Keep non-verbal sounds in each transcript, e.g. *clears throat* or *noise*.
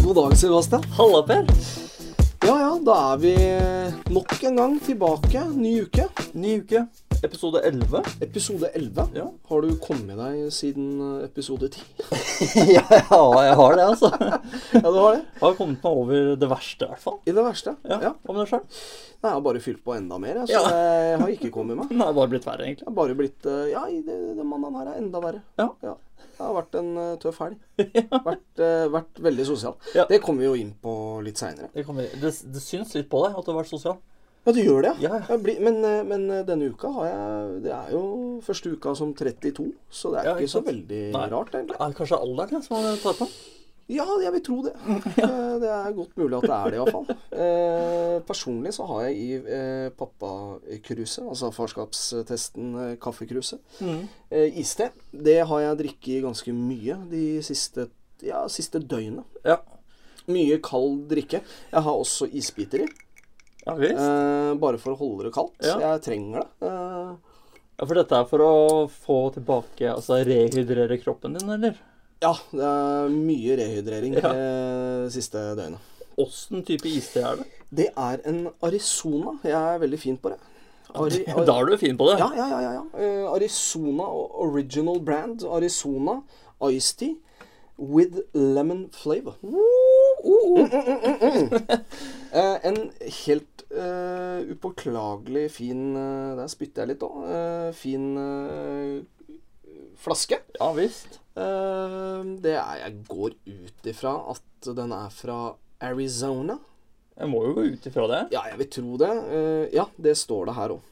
Sebastian. Halla, Per. Ja ja, da er vi eh, nok en gang tilbake. Ny uke. Ny uke. Episode 11. Episode 11. Ja. Har du kommet deg siden eh, episode *laughs* 10? *laughs* ja, jeg har det, altså. Ja, du har det? *laughs* Har kommet meg over det verste, i hvert fall. I det verste. Ja, Hva med deg sjøl? Nei, jeg har bare fylt på enda mer, jeg, så Ja. jeg har ikke kommet meg. Den har bare blitt verre, egentlig. Jeg har bare blitt eh, Ja, i det, den mannen her er enda verre. Ja. Det har vært en eh, tøff *laughs* helg. Vært, eh, vært veldig sosial. Ja. Det kommer vi jo inn på litt seinere. Det, kan vi- det, det syns litt på deg at du har vært sosial. Ja, du gjør det, Ja, ja. Jeg blir- men, eh, men eh, denne uka har jeg Det er jo første uka som 32, så det er Ja, ikke ikke så sant? veldig Nei. rart, egentlig. Er det kanskje alderen ja, som han tar på? Ja, jeg vil tro det. *laughs* Eh, Det er godt mulig at det er det, iallfall. Eh, personlig så har jeg i eh, pappakruset, altså farskapstesten eh, kaffekruset, Mm. eh, iste. Det har jeg drikket ganske mye de siste, ja, siste døgnet. Ja. Mye kald drikke. Jeg har også isbiter i. Ja, visst. Eh, bare for å holde det kaldt. Ja. Jeg trenger det. Eh, ja, For dette er for å få tilbake Altså rehydrere kroppen din, eller? ja, det er mye rehydrering Ja. eh, siste døgnet. Åssen type iste er det? Det er en Arizona. Jeg er veldig fin på det. Ari- *laughs* Da er du fin på det. Ja, ja, ja. ja, ja. Eh, Arizona Original Brand. Arizona Ice Tea with lemon flavor. Mm, mm, mm, mm, mm. Eh, en helt eh, upåklagelig fin eh, Der spytter jeg litt òg. fin eh, flaske. ja visst. Eh, det er Jeg går ut ifra at den er fra Arizona. Jeg må jo gå ut ifra det. Ja, jeg vil tro det. Eh, ja, det står det her òg.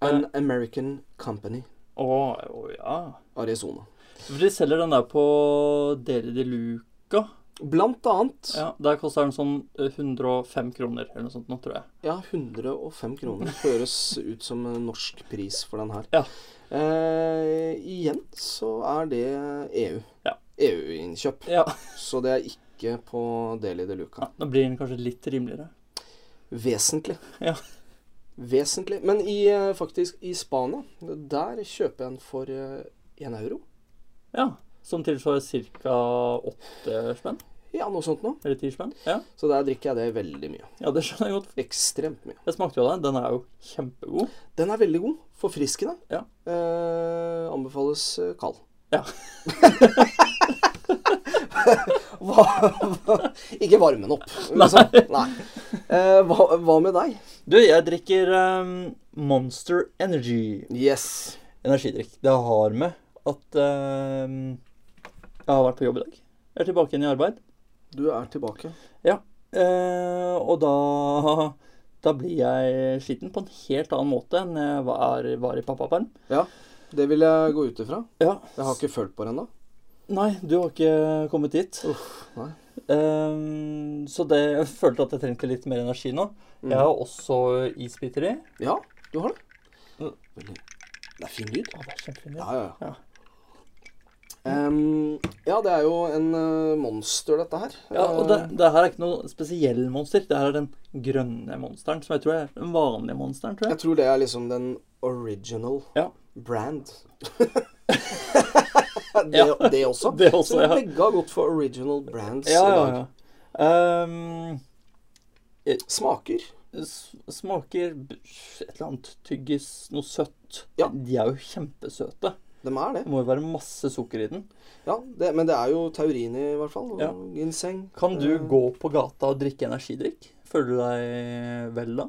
Eh. An American Company. Å, å ja. Arizona. For de selger den der på Deli de Luca. Blant annet ja. Ja, Der koster den sånn eh, 105 kroner eller noe sånt nå, tror jeg. 105 kroner høres ut som en norsk pris for den her. Ja. Eh, igjen så er det E EU. Ja. EU-innkjøp. Ja, Så det er ikke på Deli de Luca. ja Da blir den kanskje litt rimeligere. Vesentlig. Ja. Vesentlig. Men i, eh, faktisk i Spania, der kjøper jeg den for én euro. Ja, Som tilsvarer ca. åtte spenn? Ja, noe sånt noe. Eller ti spenn? Ja. Så der drikker jeg det veldig mye. ja, det skjønner jeg godt. Ekstremt mye. Jeg smakte jo av den. Den er jo kjempegod. Den er veldig god. Forfriskende. Ja. Eh, anbefales eh, kald. Ja. *laughs* hva, hva, ikke varm den opp. Liksom. Nei. Eh, hva, hva med deg? Du, jeg drikker eh, Monster Energy. Yes. Energidrikk. Det har med at eh, jeg har vært på jobb i dag. Jeg er tilbake igjen i arbeid. Du er tilbake. Eh, og da, da blir jeg sliten på en helt annen måte enn jeg var, var i pappaperm. Det vil jeg gå ut ifra. Ja. Jeg har ikke følt på det ennå. Nei, du har ikke kommet dit. nei. Eh, så det, jeg følte at jeg trengte litt mer energi nå. Mm. Jeg har også isbiter i. Ja, du har det. Mm. Veldig. Det er fin lyd. Å, det er kjempefint. Ja, ja, ja. Ja. Em, ja, det er jo en eh, monster, dette her. Ja, og det, det her er ikke noe spesiell monster. Det her er den grønne monsteren, som jeg tror er den vanlige monsteren. tror jeg. Jeg tror det er liksom den original Ja. *laughs* brand. det, Ja. det også. Det også, Så ja. Begge har gått for original brands Ja, ja, i dag. ja. Ehm, Smaker. s- smaker b- et eller annet tyggis, noe søtt. Ja. De er jo kjempesøte. De er det. Det må jo være masse sukker i den. Ja, det. Men det er jo taurin i hvert fall. og Ja. Ginseng. Kan du Eh, gå på gata og drikke energidrikk? Føler du deg vel da?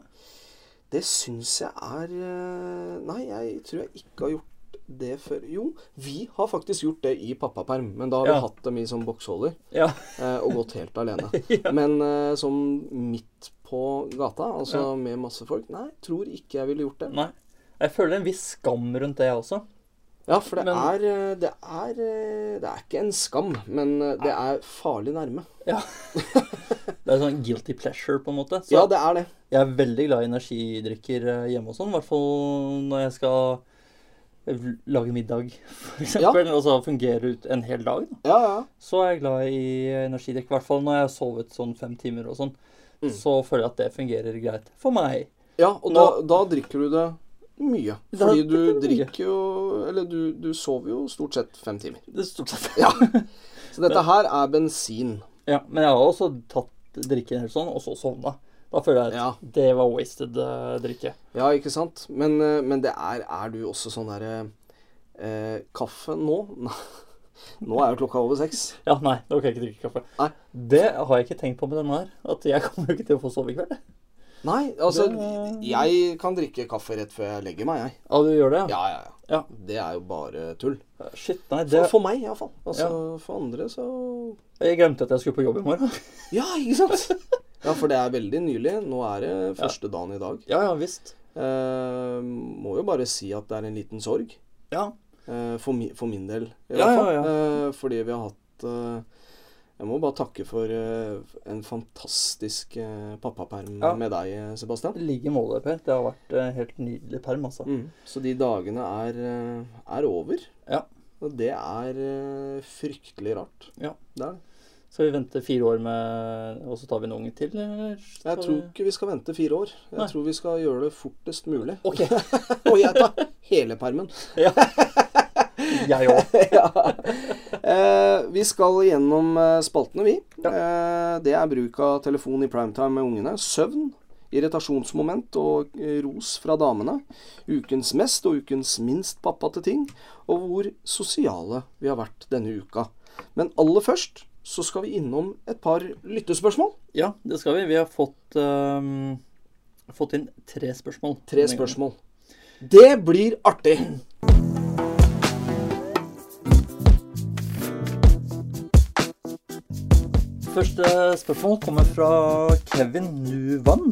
Det syns jeg er eh, Nei, jeg tror jeg ikke har gjort det før. Jo, vi har faktisk gjort det i pappaperm, men da har Ja. vi hatt dem i sånn boksholder. Ja. eh, og gått helt alene. *laughs* Ja. Men eh, som midt på gata, altså med masse folk Nei, tror ikke jeg ville gjort det. Nei. Jeg føler en viss skam rundt det, jeg også. Ja, for det, Men- er, eh, det er eh, Det er ikke en skam, men eh, det er farlig nærme. Det er sånn guilty pleasure, på en måte. Så Ja, det er det. jeg er veldig glad i energidrikker eh, hjemme og sånn. I hvert fall når jeg skal l- lage middag, *laughs* for eksempel. Og så fungere ut en hel dag. Da. Ja, ja. Så er jeg glad i energidrikk. I hvert fall når jeg har sovet sånn fem timer og sånn. Mm. Så føler jeg at det fungerer greit for meg. ja og da, da drikker du det mye. Da Fordi drikker du du mye. drikker jo Eller du, du sover jo stort sett fem timer. Det er stort sett Ja. Så dette her er bensin. Ja, men jeg har også tatt drikken helt sånn, og så sovna. Da føler jeg at det var wasted eh, drikke. Ja, ikke sant? Men, eh, men det er, er du også sånn derre eh, Kaffe nå? *laughs* nå er jo klokka over seks. Ja, nei, nå kan jeg ikke drikke kaffe. Nei. Det har jeg ikke tenkt på med denne her. At jeg *laughs* kommer jo ikke til å få sove i kveld. Nei, altså Det- Jeg kan drikke kaffe rett før jeg legger meg, jeg. Ja, du gjør det? Ja, ja, ja. Ja. Det er jo bare tull. Shit, nei, det For, for meg, iallfall. Altså, For andre, så Jeg glemte at jeg skulle på jobb i morgen. *laughs* Ja, ikke sant? *laughs* Ja, for det er veldig nylig. Nå er det første dagen i dag. Ja, ja, visst. Eh, må jo bare si at det er en liten sorg. Ja. Eh, for, mi, for min del, i Ja, hvert fall. ja, Eh, fordi vi har hatt eh, Jeg må bare takke for eh, en fantastisk eh, pappaperm Ja. med deg, eh, Sebastian. I like måte, Per. Det har vært eh, helt nydelig perm, altså. Mm. Så de dagene er, eh, er over. Ja. Og det er eh, fryktelig rart. Ja. Det er det. Skal vi vente fire år med Og så tar vi en unge til, eller? Skal Jeg tror ikke vi skal vente fire år. Jeg Nei. tror vi skal gjøre det fortest mulig. *laughs* Ok. *laughs* Og jeg tar hele permen. Jeg òg. *laughs* ja. eh, vi skal gjennom eh, spaltene, vi. Ja. Eh, det er bruk av telefon i primetime med ungene. Søvn, irritasjonsmoment og eh, ros fra damene. Ukens mest og ukens minst pappate ting. Og hvor sosiale vi har vært denne uka. Men aller først så skal vi innom et par lyttespørsmål. Ja, det skal vi. Vi har fått ehm, Fått inn tre spørsmål. Tre spørsmål. Det blir artig! Første spørsmål kommer fra Kevin Nuvan.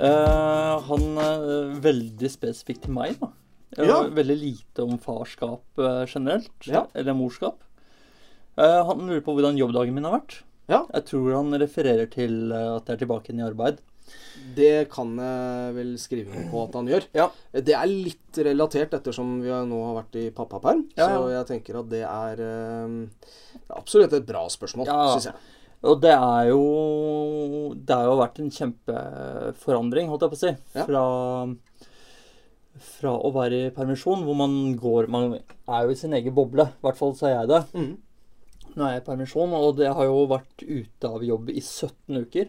Eh, han er veldig spesifikk til meg, da. Jeg Ja. vet Veldig lite om farskap eh, generelt, Ja. eller morskap. Eh, han lurer på hvordan jobbdagen min har vært. Ja. Jeg tror han refererer til eh, at jeg er tilbake igjen i arbeid. Det kan jeg vel skrive under på at han gjør. Ja. Det er litt relatert ettersom vi har- nå har vært i pappaperm. Ja, Så jeg tenker at det er eh, det er absolutt et bra spørsmål, Ja. synes syns jeg. Og det er jo Det har jo vært en kjempeforandring, holdt jeg på å si, Ja. fra fra å være i permisjon, hvor man går Man er jo i sin egen boble. I hvert fall så er jeg det. Mhm. Nå er jeg i permisjon, og det har jo vært ute av jobb i 17 uker.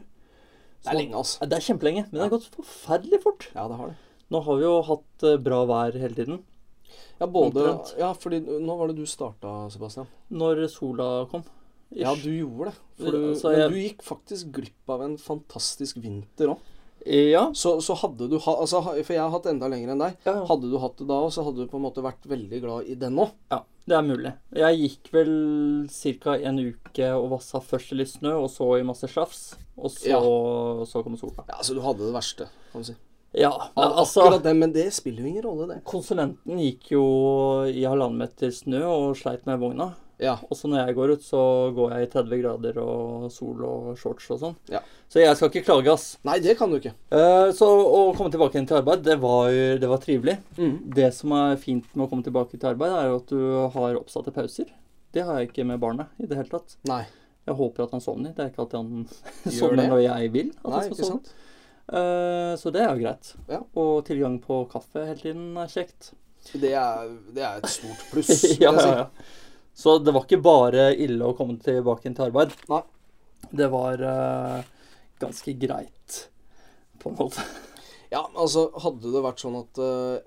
Det er lenge, altså. Ja, Det er kjempelenge, men det har gått forferdelig fort. Ja, det har det. Nå har vi jo hatt eh, bra vær hele tiden. Ja, både, Omtrent. ja, fordi nå var det du starta, Sebastian. Når sola kom. ish. Ja, du gjorde det. For du, Altså, jeg- Men du gikk faktisk glipp av en fantastisk vinter òg. ja. Så, så hadde du ha, altså, ha- For jeg har hatt enda lenger enn deg. ja. Hadde du hatt det da òg, så hadde du på en måte vært veldig glad i den òg. Ja, det er mulig. Jeg gikk vel ca. en uke og vassa først i litt snø, og så i masse slafs. Og så, Ja. så kom sola. Ja, så du hadde det verste, kan du si. Ja, Ja, altså Akkurat det, men det spiller jo ingen rolle, det. Konsulenten gikk jo i halvannen meter snø og sleit med vogna. Ja, Og så når jeg går ut, så går jeg i 30 grader og sol og shorts og sånn. Ja. Så jeg skal ikke klage, ass. Nei, det kan du ikke. Eh, Så å komme tilbake igjen til arbeid, det var, det var trivelig. Mhm. Det som er fint med å komme tilbake til arbeid, er jo at du har oppsatte pauser. Det har jeg ikke med barnet i det hele tatt. Nei. Jeg håper at han sovner. Det er ikke alltid han *laughs* Gjør sovner det? når jeg vil. at Nei, han skal ikke sovne. sant? Eh, Så det er jo greit. Ja. Og tilgang på kaffe hele tiden er *laughs* kjekt. Det er, det er et stort *laughs* pluss. ja, vil jeg si. ja, ja. Så det var ikke bare ille å komme tilbake igjen til arbeid. Nei. Det var eh, ganske greit, på en måte. ja, altså, hadde det vært sånn at eh,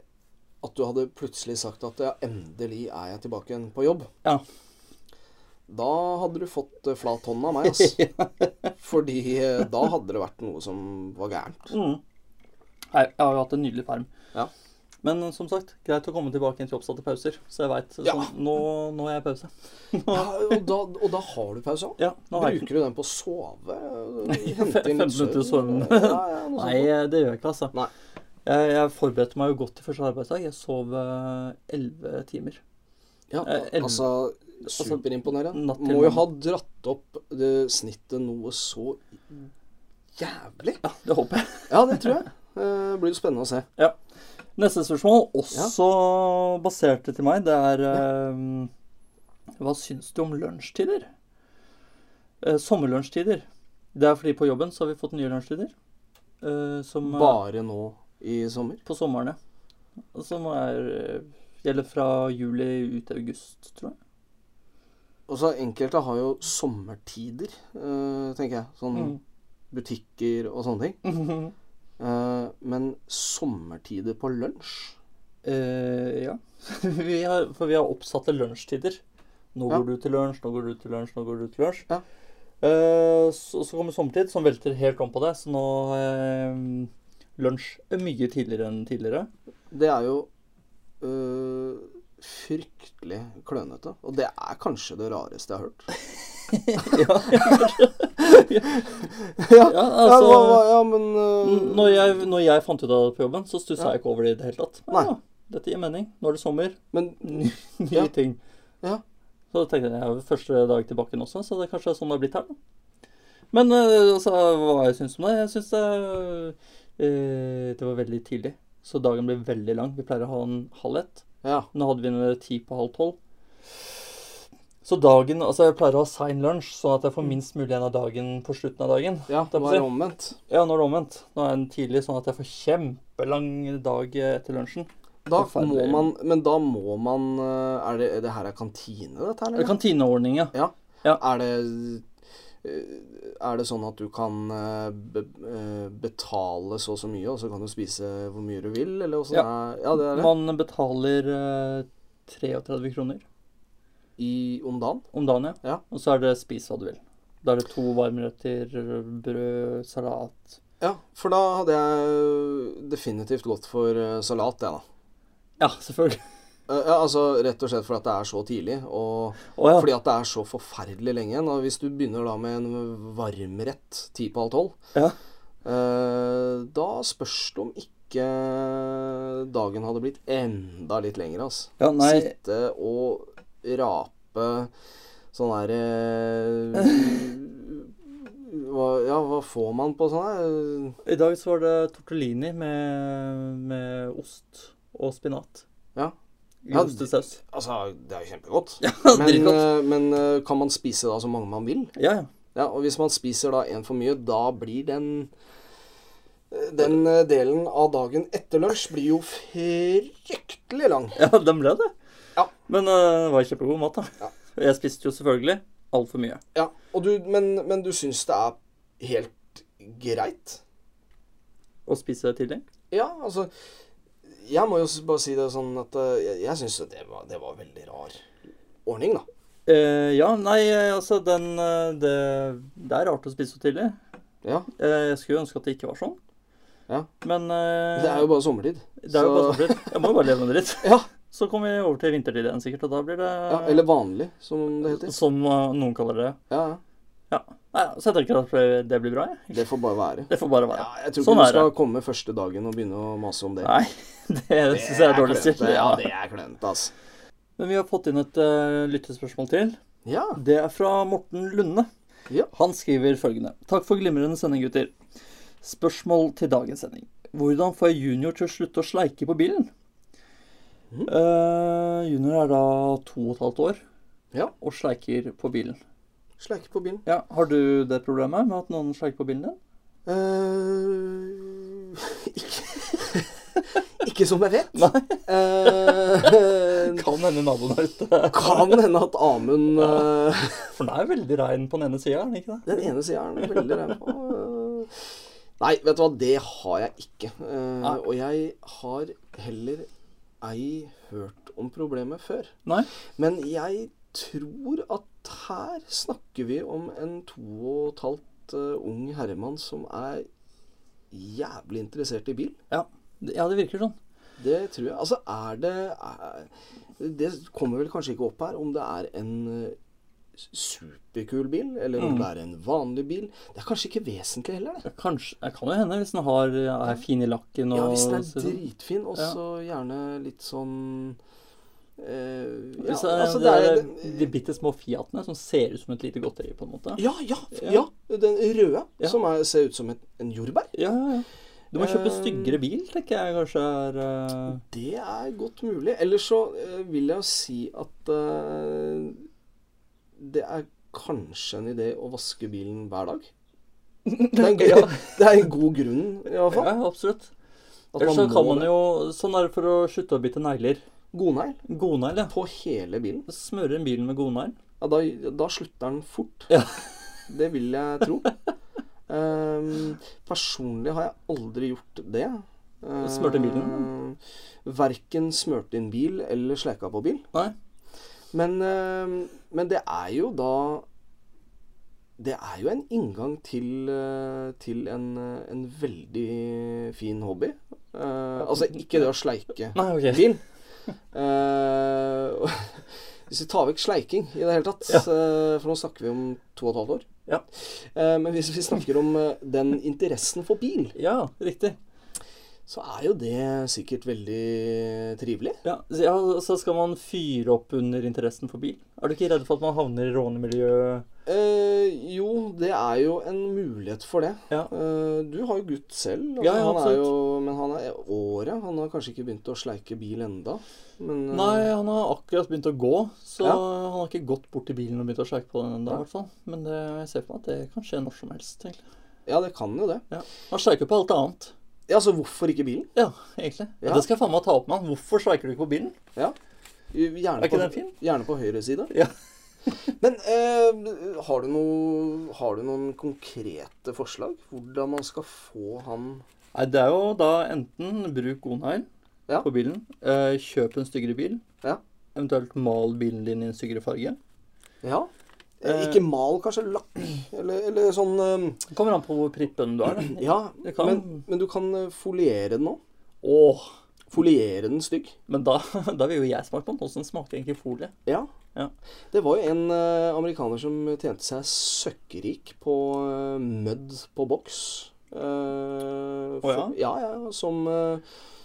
at du hadde plutselig sagt at ja, endelig er jeg tilbake igjen på jobb. Ja. Da hadde du fått eh, flat hånd av meg, *laughs* ass. Fordi eh, da hadde det vært noe som var gærent. Mm. Nei, jeg har jo hatt en nydelig perm. Ja. Men eh, som sagt, greit å komme tilbake igjen til oppsatte pauser. Så jeg veit. Ja. Sånn, nå, nå er jeg i pause. Ja, og, da, og da har du pause òg. Ja, nå har jeg ikke Bruker du den på å sove? *laughs* Hente Fem inn litt minutter søvn? søvn. Ja, ja, noe Nei, sånt. eh, det gjør jeg ikke, altså. Nei. Jeg, jeg forberedte meg jo godt til første arbeidsdag. Jeg sov eh, elleve timer. Ja, Eh, elleve. altså Superimponerende. natt til Må jo mandag. ha dratt opp det snittet noe så jævlig. Ja, det håper jeg. Ja, det tror jeg. Eh, blir jo spennende å se. Neste spørsmål, også basert til meg, det er eh, Hva syns du om lunsjtider? Eh, sommerlunsjtider. Det er fordi på jobben så har vi fått nye lunsjtider. eh, som eh, Bare nå i sommer. på sommeren, ja. eh, Som er, gjelder fra juli ut til august, tror jeg. Og så enkelte har jo sommertider, eh, tenker jeg. Sånn Mm. butikker og sånne ting. *laughs* Eh, men sommertider på lunsj? Eh, ja. *laughs* vi har, for vi har oppsatte lunsjtider. Nå Ja. går du til lunsj, nå går du til lunsj, nå går du til lunsj. Ja. Eh, så, så kommer sommertid, som velter helt om på det. Så nå har jeg, eh, lunsj er mye tidligere enn *laughs* tidligere. Det er jo øh, fryktelig klønete. Og det er kanskje det rareste jeg har hørt. ja, ja, *laughs* ja, ja, hva, hva, altså, ja, men øh, n- når, jeg, når jeg fant ut av det på jobben, så stussa Ja. jeg ikke over det i det hele tatt. Nei. Ja, dette gir mening. Nå er det sommer. Men Ny, nye Ja. ting. Ja. Så da tenkte jeg jeg er jo første dag tilbake nå også, så det er kanskje sånn det har blitt her. Da. Men eh, altså, hva jeg syns om det? Jeg syns det, eh, det var veldig tidlig. Så dagen ble veldig lang. Vi pleier å ha en halv ett. ja. Nå hadde vi en ti på halv tolv. Så dagen Altså, jeg pleier å ha sein lunsj, sånn at jeg Mm. får minst mulig igjen av dagen på slutten av dagen. ja Det er nå er det omvendt. Ja, nå er det omvendt. Nå er den tidlig, sånn at jeg får kjempelang dag eh, etter lunsjen. Da må Forferdelig. man Men da må man øh, Er det, det her er kantine, dette her? Eller? Kantineordning, ja. Er det øh, er det sånn at du kan øh, be, øh, betale så og så mye, og så kan du spise hvor mye du vil? Eller åssen er Ja, det er det. Man betaler eh, 33 kroner I, om dagen? om dagen, ja. Ja. Og så er det spis hva du vil. Da er det to varmretter, brød, salat Ja, for da hadde jeg definitivt gått for eh, salat, jeg, da. *laughs* Ja, selvfølgelig. Eh, Ja, altså Rett og slett fordi at det er så tidlig, og Å ja. fordi at det er så forferdelig lenge igjen. Og hvis du begynner da med en varmrett ti på halv tolv, Ja. eh, da spørs det om ikke dagen hadde blitt enda litt lengre, altså. ja nei, Sitte og rape sånn her eh, *laughs* hva, Ja, hva får man på sånn her? i dag så var det tortellini med, med ost og spinat. Ja. I Ja, ostesaus. Altså, det er jo kjempegodt. *laughs* Men, Dritgodt. eh, men eh, kan man spise da så mange man vil? Ja, ja. Ja, Og hvis man spiser da én for mye, da blir den eh, Den eh, delen av dagen etter lunsj blir jo fryktelig lang. Ja, den ble det. Ja. Men eh, det var kjempegod mat, da. Jeg spiste jo selvfølgelig altfor mye. Ja, og du, men, men du syns det er helt greit? Å spise tidlig. Ja, altså Jeg må jo s- bare si det sånn at eh, jeg, jeg syns jo det, var- det var veldig rar ordning, da. Eh, ja, nei, eh, altså den eh, det, det er rart å spise så tidlig. Ja, Eh, Jeg skulle jo ønske at det ikke var sånn. Ja. Men eh, Det er jo bare sommertid. det er jo bare så- sommertid. Jeg må jo bare leve med det litt. *laughs* Ja. Så kommer vi over til vintertid igjen, sikkert, og da blir det Ja, eller vanlig, som det heter. Som eh, noen kaller det. Ja, ja. Nei, så jeg tenker at det blir bra, jeg. Det får bare være. Det får bare være. Ja, jeg tror Sånn ikke er du skal komme første dagen og begynne å mase om det. Nei, *laughs* det syns jeg er dårlig klønete, stil. Ja, Ja. det er klønete, altså. Men vi har fått inn et eh, lyttespørsmål til. Ja. Det er fra Morten Lunde. Ja. Han skriver følgende. Takk for glimrende sending, gutter. Spørsmål til dagens sending. Hvordan får jeg junior til å slutte å sleike på bilen? Mm. Mhm. Eh, junior er da to og et halvt år Ja. og sleiker på bilen. Sleike på bilen. Ja, Har du det problemet med at noen sleiker på bilen din? eh *laughs* ikke *laughs* Ikke som jeg vet. Nei. *laughs* Eh, Kan hende naboen der ute. kan hende at Amund eh, For den er veldig rein på den ene sida, er den ikke det? Den ene sida er han veldig ræv på. Eh, Nei, vet du hva, det har jeg ikke. Eh, Nei. og jeg har heller ei hørt om problemet før. Nei? Men jeg tror at her snakker vi om en to og et halvt eh, ung herremann som er jævlig interessert i bil. Ja. ja, det virker sånn. Det tror jeg. Altså, er det er, Det kommer vel kanskje ikke opp her om det er en eh, superkul bil, eller Mm. om det er en vanlig bil. Det er kanskje ikke vesentlig heller, det. Ja, Kanskje, det kan jo hende hvis den har, er fin i lakken og Ja, hvis den er så- dritfin, og Ja. så gjerne litt sånn eh, ja, Hvis det, altså, det det er, eh, er, de bitte små Fiatene som ser ut som et lite godteri, på en måte. Ja, ja, ja. Den røde, Ja. som er, ser ut som et, en jordbær. Ja, ja, ja. Du må kjøpe Eh, styggere bil, tenker jeg kanskje er eh, Det er godt mulig. Ellers så eh, vil jeg jo si at eh, det er kanskje en idé å vaske bilen hver dag. Det er en, gr- *laughs* Ja. *laughs* det er en god grunn, i hvert fall. Ja, absolutt. At Ellers så må kan man det. jo Sånn er det for å slutte å bite negler. Godnegl Godnegl, ja. på hele bilen. Smøre en bil med godnegl. Ja, ja, da, da slutter den fort. Ja. Det vil jeg *laughs* tro. Ehm, personlig har jeg aldri gjort det. Uh, Smurt inn bilen? Verken smurt inn bil eller sleka på bil. Nei. Men, ehm, men det er jo da Det er jo en inngang til, eh, til en, eh, en veldig fin hobby. Eh, altså ikke det å sleike Nei, ok. bil. Eh, *laughs* og- hvis vi tar vekk sleiking i det hele tatt, Ja. eh, for nå snakker vi om to og et halvt år Ja. Eh, Men hvis vi snakker om eh, den interessen for bil, Ja, riktig. så er jo det sikkert veldig trivelig. Ja, så- ja, så skal man fyre opp under interessen for bil. Er du ikke redd for at man havner i rånemiljøet? Eh, jo, det er jo en mulighet for det. Ja. Eh, du har jo gutt selv, altså, Ja, ja, han er absolutt. jo, men han er året. Han har kanskje ikke begynt å sleike bil enda. Men, eh, Nei, han har akkurat begynt å gå, så Ja. han har ikke gått bort til bilen og begynt å sjekke på den ennå, Ja. i hvert fall. Men det, jeg ser for meg at det kan skje når som helst, egentlig. Ja, det kan jo det. Ja. Han sjekker på alt annet. Ja, så hvorfor ikke bilen? Ja, egentlig. Ja. Det skal jeg faen meg ta opp med han. Hvorfor sjekker du ikke på bilen? Ja. Gjerne Er på, ikke den fin? gjerne på høyre side. Ja. Men eh, har, du noe, har du noen konkrete forslag? Hvordan man skal få han Nei, det er jo da enten bruk god negl Ja. på bilen, eh, kjøp en styggere bil, Ja. eventuelt mal bilen din i en styggere farge. Ja. Eh, ikke mal, kanskje. Lakk. Eller, eller sånn eh, Det kommer an på hvor prippen du er. da. Ja, Det kan- men, men du kan eh, foliere den òg. Åh, Foliere den stygg. men da, *laughs* da vil jo jeg smake på den. Hvordan smaker egentlig folie? Ja. Ja. Det var jo en eh, amerikaner som tjente seg søkkrik på eh, mødd på boks. Eh, for- ja, ja, som, eh,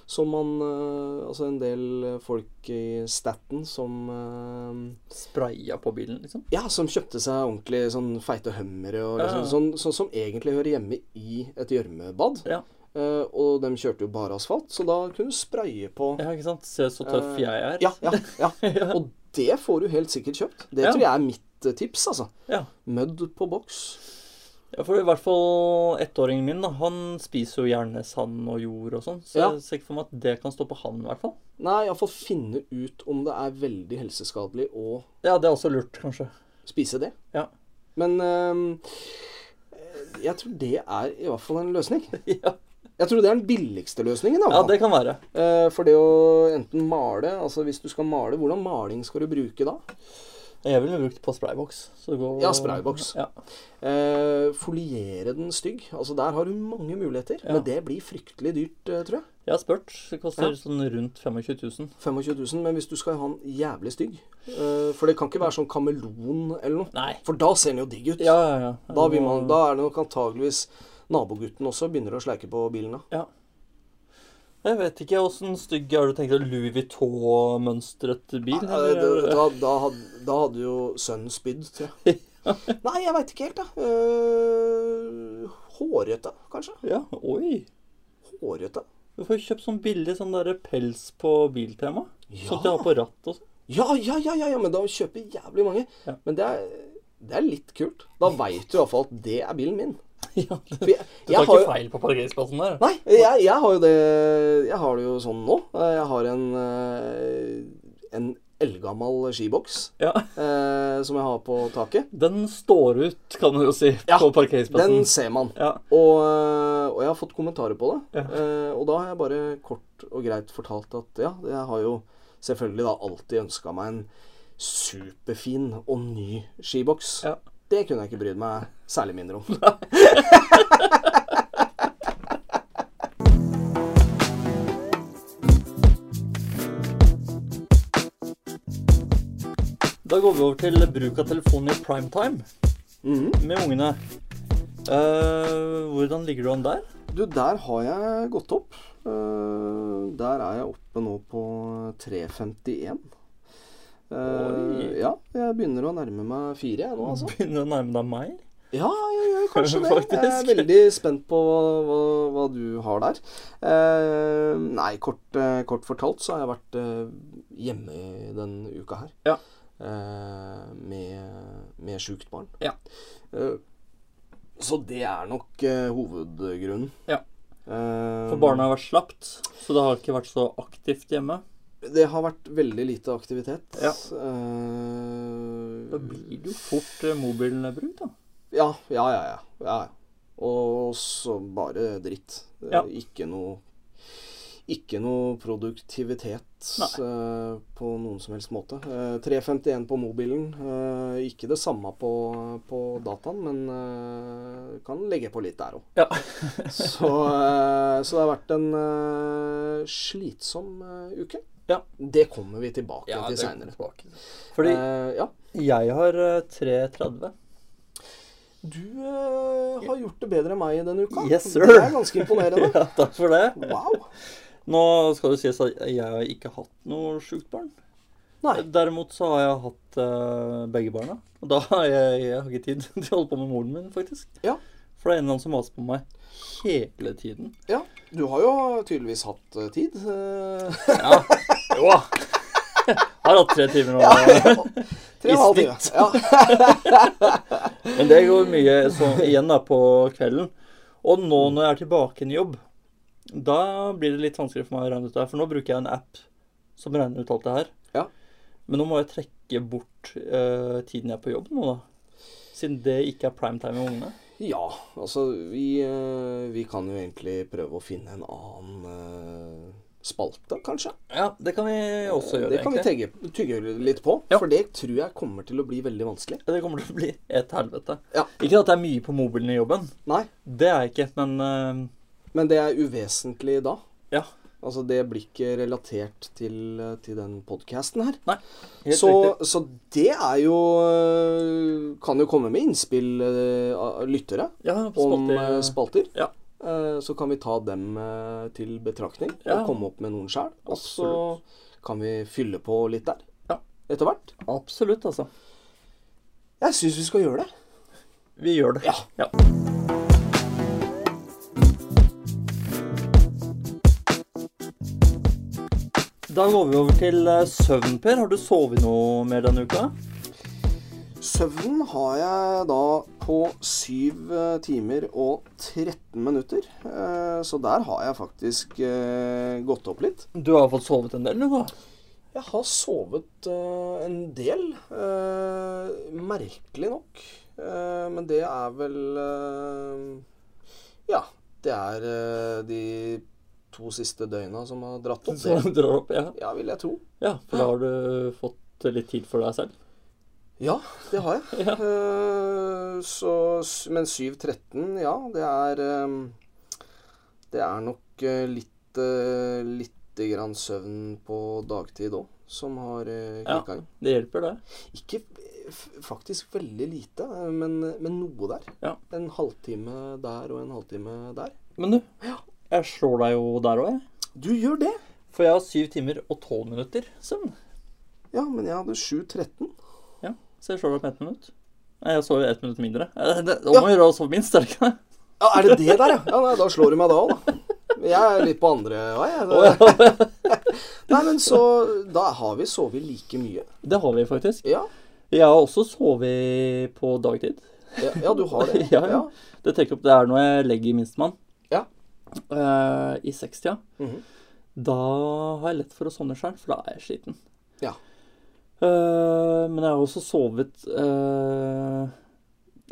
som man eh, Altså en del folk i Staten som eh, Spraya på bilen, liksom? Ja, som kjøpte seg ordentlig sånn feite hummere og Ja, liksom, ja. sånn, sånn som egentlig hører hjemme i et gjørmebad. Ja. Eh, og de kjørte jo bare asfalt, så da kunne du spraye på Ja, ikke sant? Se så tøff Eh, jeg er. Ja, ja, *laughs* ja. *laughs* Og det får du helt sikkert kjøpt. Det Ja. tror jeg er mitt eh, tips, altså. Ja. Mødd på boks. Ja, for i hvert fall ettåringen min, da, han spiser jo gjerne sand og jord og sånn. Så Ja. jeg ser ikke for meg at det kan stå på han, i hvert fall. Nei, iallfall finne ut om det er veldig helseskadelig å Ja, det er også lurt, kanskje. spise det. Ja. Men ehm, eh, jeg tror det er i hvert fall en løsning. *laughs* Ja, Jeg tror det er den billigste løsningen. da. ja det kan være. Eh, For det å enten male Altså hvis du skal male, hvordan maling skal du bruke da? Jeg ville brukt på sprayboks. Så det går... Ja, sprayboks. Ja. Eh, foliere den stygg. Altså Der har du mange muligheter. Ja. Men det blir fryktelig dyrt, eh, tror jeg. Jeg har spurt. Det koster Ja. sånn rundt 25 000. 25 000. Men hvis du skal ha den jævlig stygg eh, For det kan ikke være sånn kameleon eller noe. Nei. For da ser den jo digg ut. Ja, ja, ja. Da, vil man, da er det nok antageligvis nabogutten også begynner å sleike på bilen da. Jeg vet ikke åssen stygg Har du tenkt deg Louis Vuitton-mønstret bil? Eh, eller? det- Da, da, hadde, da hadde jo sønnen spydd, tror jeg. *laughs* Nei, jeg veit ikke helt, da. Eh, hårete, kanskje. Ja, oi. Hårete. Du får kjøpt sånn billig sånn der pels på Biltema. Ja. Sånn at du har på ratt og sånn. Ja, ja, ja, ja, ja, men da kjøper jeg jævlig mange. Ja. Men det er, det er litt kult. Da veit du iallfall at det er bilen min. *laughs* Ja, For du jeg, tar jeg har ikke jo, feil på parkeringsplassen der. nei, Eh, jeg, jeg har jo det Jeg har det jo sånn nå. Jeg har en, eh, en eldgammel skiboks Ja, eh, som jeg har på taket. Den står ut, kan du jo si, Ja, på parkeringsplassen. Den ser man. Ja, Og, eh, og jeg har fått kommentarer på det. Ja. Eh, og da har jeg bare kort og greit fortalt at ja, jeg har jo selvfølgelig da alltid ønska meg en superfin og ny skiboks. Ja. Det kunne jeg ikke brydd meg særlig mindre *laughs* om. Da går vi over til bruk av telefonen i primetime Mhm. med ungene. Eh, hvordan ligger du an der? Du, der har jeg gått opp. Eh, der er jeg oppe nå på 3.51. Eh, Oi. ja, jeg begynner å nærme meg fire, jeg nå, altså. Begynner å nærme deg meg? Ja, jeg gjør *laughs* kanskje det. Jeg er Faktisk. veldig spent på hva, hva du har der. Eh, nei, kort, eh, kort fortalt så har jeg vært eh, hjemme i denne uka her. Ja. Eh, med, med sjukt barn. Ja. Eh, så det er nok eh, hovedgrunnen. Ja. Eh, For barna har vært slapt, så det har ikke vært så aktivt hjemme. Det har vært veldig lite aktivitet. Ja. Eh, Da blir det jo fort eh, mobilbruk, da. ja, ja, ja, ja, ja. ja. Og så bare dritt. Eh, Ja. Ikke noe Ikke noe produktivitet Nei. eh, på noen som helst måte. Eh, 351 på mobilen. eh, ikke det samme på, på dataen, men eh, kan legge på litt der òg. Ja. *laughs* så, eh, så det har vært en eh, slitsom eh, uke. Ja. Det kommer vi tilbake til seinere. Fordi ja. jeg har eh, 3.30. Du eh, har gjort det bedre enn meg denne uka. Yes, sir. Det er ganske imponerende. *laughs* Ja, takk for det. Wow. Nå skal det sies at jeg har ikke hatt noe sjukt barn. Nei. Derimot så har jeg hatt eh, begge barna. Og da har jeg, jeg har ikke tid *laughs* til å holde på med moren min, faktisk. Ja. For det er en eller annen som maser på meg hele tiden. Ja, du har jo tydeligvis hatt eh, tid. eh, Ja. Jo da. *laughs* Har hatt tre timer nå. *laughs* Tre og en halv time. Ja. Men det går mye sånn igjen da på kvelden. Og nå når jeg er tilbake i jobb, da blir det litt vanskeligere for meg å regne ut det her. For nå bruker jeg en app som regner ut alt det her. Ja. Men nå må jeg trekke bort eh, tiden jeg er på jobb nå, da. Siden det ikke er primetime med ungene. ja, altså vi, eh, vi kan jo egentlig prøve å finne en annen eh, spalte, kanskje. Ja, det Eh, kan vi også gjøre, det kan egentlig. vi tegge, tygge litt på, Ja. for det tror jeg kommer til å bli veldig vanskelig. Det kommer til å bli et helvete. Ja. Ikke at det er mye på mobilen i jobben. Nei, Det er jeg ikke, men eh, men det er uvesentlig da. ja. Altså, det blir ikke relatert til, eh, til den podkasten her. Nei. Helt Så, riktig. så det er jo øh, Kan jo komme med innspill øh, av lyttere Ja, på om spalte- øh, spalter. Ja. Eh, Så kan vi ta dem øh, til betraktning Ja. og komme opp med noen sjøl. Og så Absolutt. kan vi fylle på litt der Ja. etter hvert. Absolutt, altså. Jeg syns vi skal gjøre det. Vi gjør det. Ja. Da går vi over til eh, søvn, Per. Har du sovet noe mer denne uka? Søvnen har jeg da på 7 timer og 13 minutter. Eh, Så der har jeg faktisk eh, gått opp litt. Du har fått sovet en del, du, da. Jeg har sovet eh, en del. eh, merkelig nok. Eh, men det er vel eh, Ja. Det er eh, de to siste døgna som har dratt opp Så det. du drar opp, ja. Ja, vil jeg tro. ja. For da har du fått litt tid for deg selv. Ja, det har *laughs* jeg. Eh, så, s- men 7.13, ja, det er eh, Det er nok eh, litt uh, Lite grann søvn på dagtid òg som har uh, Ja. kicka inn. Det hjelper, det. Ikke f- faktisk veldig lite, men, men noe der. Ja. En halvtime der og en halvtime der. Men du, jeg slår deg jo der òg, jeg. Du gjør det! For jeg har syv timer og tolv minutter søvn. Ja, men jeg hadde 7.13. Ja, Så jeg slår opp ett minutt. Nei, jeg sover ett minutt mindre. Eh, det- Da må vi gjøre oss over minst, er det ikke det? Ja, er det det der, ja? ja nei, da slår du meg da òg, da. Jeg er litt på andre vei. jeg. *laughs* Nei, men så Da har vi sovet like mye. Det har vi faktisk. Ja, Jeg har også sovet på dagtid. ja, ja du har det. *laughs* Ja, ja. Det trekker opp, det er når jeg legger minstemann Ja. eh, i 60 Mhm. Da har jeg lett for å sovne sjøl, for da er jeg sliten. Ja. Eh, men jeg har også sovet eh,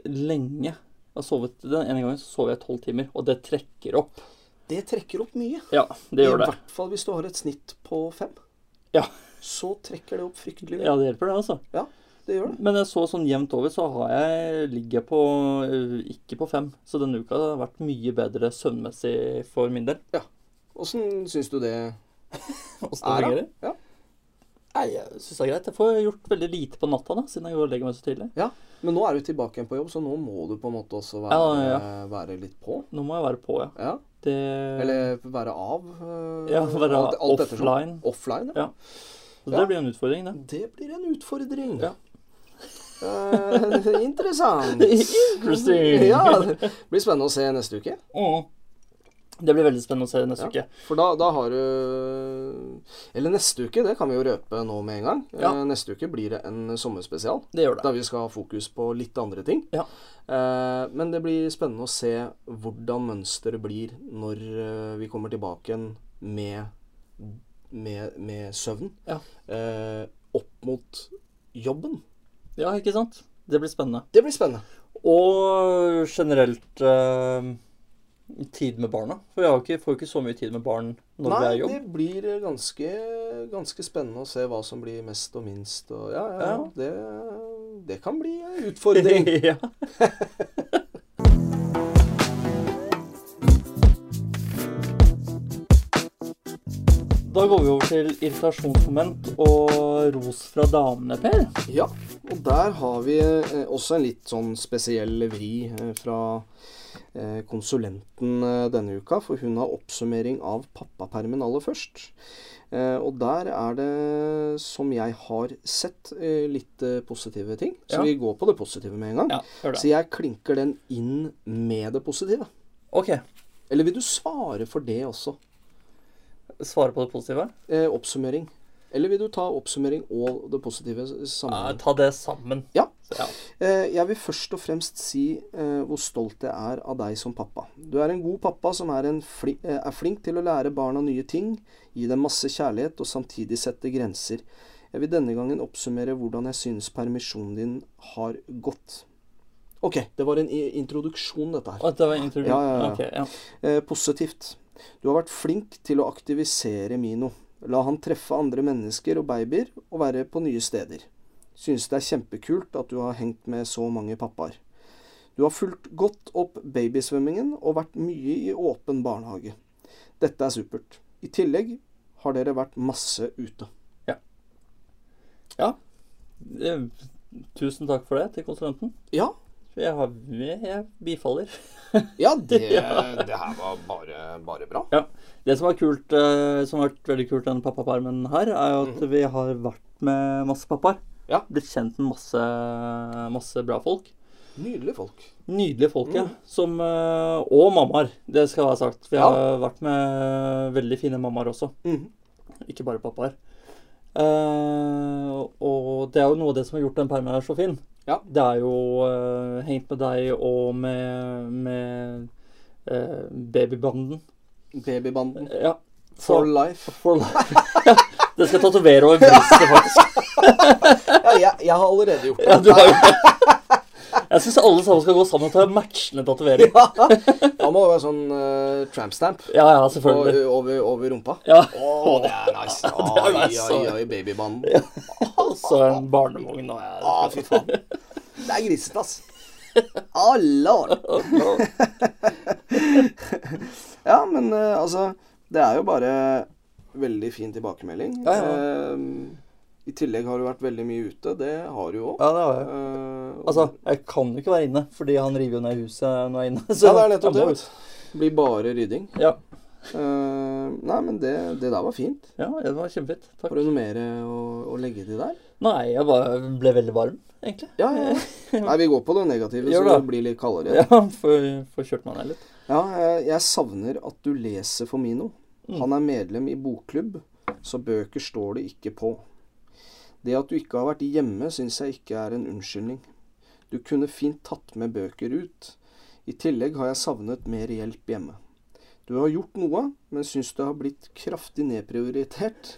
lenge. Jeg har sovet, Den ene gangen så sov jeg tolv timer, og det trekker opp. Det trekker opp mye. Ja, det gjør I det. hvert fall hvis du har et snitt på fem. Ja. Så trekker det opp fryktelig mye. Ja, det hjelper, det, altså. Det gjør det. Men jeg så sånn jevnt over, så har jeg ligger jeg på eh, ikke på fem. Så denne uka har vært mye bedre søvnmessig for min del. Åssen syns du det Åssen det er, da? fungerer? Ja. Nei, jeg syns det er greit. Jeg får gjort veldig lite på natta, da, siden jeg går og legger meg så tidlig. Ja, men nå er du tilbake igjen på jobb, så nå må du på en måte også være, Ja, ja, være litt på. Nå må jeg være på, ja. Ja. Det Eller være av. eh, Ja, være ettersom. offline. Offline, ja. Ja. Så det ja. blir en *laughs* utfordring, det. Det blir en utfordring. Ja. Eh, *laughs* interessant. Interesting. Ja, det blir spennende å se neste uke. Mm. Det blir veldig spennende å se neste Ja. uke. For da, da har du Eller neste uke, det kan vi jo røpe nå med en gang. Ja. Eh, Neste uke blir det en sommerspesial. Det gjør det. Der vi skal ha fokus på litt andre ting. Ja. Eh, men det blir spennende å se hvordan mønsteret blir når eh, vi kommer tilbake igjen med med, med søvn Ja. eh, opp mot jobben. Ja, ikke sant? Det blir spennende. Det blir spennende. Og generelt eh, tid med barna. For jeg har ikke, får jo ikke så mye tid med barn når Nei, vi er i jobb. det blir ganske, ganske spennende å se hva som blir mest og minst. Og ja, ja, Ja. Det, det kan bli en utfordring. *laughs* ja. Da går vi over til irritasjonsmoment og ros fra damene, Per. Ja, og der har vi eh, også en litt sånn spesiell vri eh, fra eh, konsulenten eh, denne uka, for hun har oppsummering av pappapermen aller først. Eh, og der er det, som jeg har sett, eh, litt eh, positive ting. Så Ja. vi går på det positive med en gang. Ja, gjør Så det. jeg klinker den inn med det positive. Ok, Eller vil du svare for det også? svare på det positive? Eh, oppsummering. Eller vil du ta oppsummering og det positive s- Eh, sammenhengen? ta det sammen. Ja. Så, ja. Eh, Jeg vil først og fremst si eh, hvor stolt jeg er av deg som pappa. Du er en god pappa som er, en fli eh, er flink til å lære barna nye ting, gi dem masse kjærlighet og samtidig sette grenser. Jeg vil denne gangen oppsummere hvordan jeg synes permisjonen din har gått. Ok, det var en i- introduksjon, dette her. Å, det var intervju. Ja, ja, ja. Ok, ja. Eh, positivt. Du har vært flink til å aktivisere Mino. La han treffe andre mennesker og babyer, og være på nye steder. Synes det er kjempekult at du har hengt med så mange pappaer. Du har fulgt godt opp babysvømmingen og vært mye i åpen barnehage. Dette er supert. I tillegg har dere vært masse ute. Eh, Tusen takk for det til konsulenten. Ja, Jeg, har, jeg bifaller. *laughs* ja det, det her var bare, bare bra. Det som er kult, eh, som har vært veldig kult den pappapermen her, er jo at vi har vært med masse pappaer. Mhm. Ja. Blitt kjent med masse, masse bra folk. Nydelige folk. Nydelige folk, Mhm. ja. Som, eh, og mammaer, det skal være sagt. Vi Ja. har vært med veldig fine mammaer også, Mhm. ikke bare pappaer. Eh, og det er jo noe av det som har gjort den permen her så fin. Ja. Det er jo eh, hengt med deg og med, med eh, babybanden. Babybanden. Ja. For life. For life. det skal jeg tatovere over brystet, faktisk. Ja, jeg, jeg har allerede gjort det. Ja, du har jo det. Jeg syns alle sammen skal gå sammen og ta matchende *laughs* tatovering. Ja, da må det være sånn eh, tramp stamp Ja, ja, på- selvfølgelig. over, over rumpa. Ja, Å, det er *laughs* nice. det er nice, Oi, oi, *laughs* ja. oi, babybanden. Og så en barnevogn og jeg. Ah, fy faen. Det er grisete, ass. Alle Ja, men eh, altså Det er jo bare veldig fin tilbakemelding. Ja, ja. Eh, I tillegg har du vært veldig mye ute. Det har du jo Eh, òg. Ja, det var jeg. Altså, jeg kan jo ikke være inne, fordi han river jo ned huset når jeg er inne. så ja, det er nettopp jeg det. må vet du. Blir bare rydding. ut. Ja. Eh, nei, men det, det der var fint. ja, det var kjempefint. Takk. Har du noe mer eh, å, å legge til der? Nei, jeg bare ble veldig varm, egentlig. Ja, ja. ja. *laughs* Nei, vi går på det negative, Gjør så det det. blir litt kaldere. Ja, får får kjørt meg ned litt. Ja, jeg, jeg savner at du leser for Mino. Mm. Han er medlem i bokklubb, så bøker står det ikke på. Det at du ikke har vært hjemme, syns jeg ikke er en unnskyldning. Du kunne fint tatt med bøker ut. I tillegg har jeg savnet mer hjelp hjemme. Du har gjort noe, men syns du har blitt kraftig nedprioritert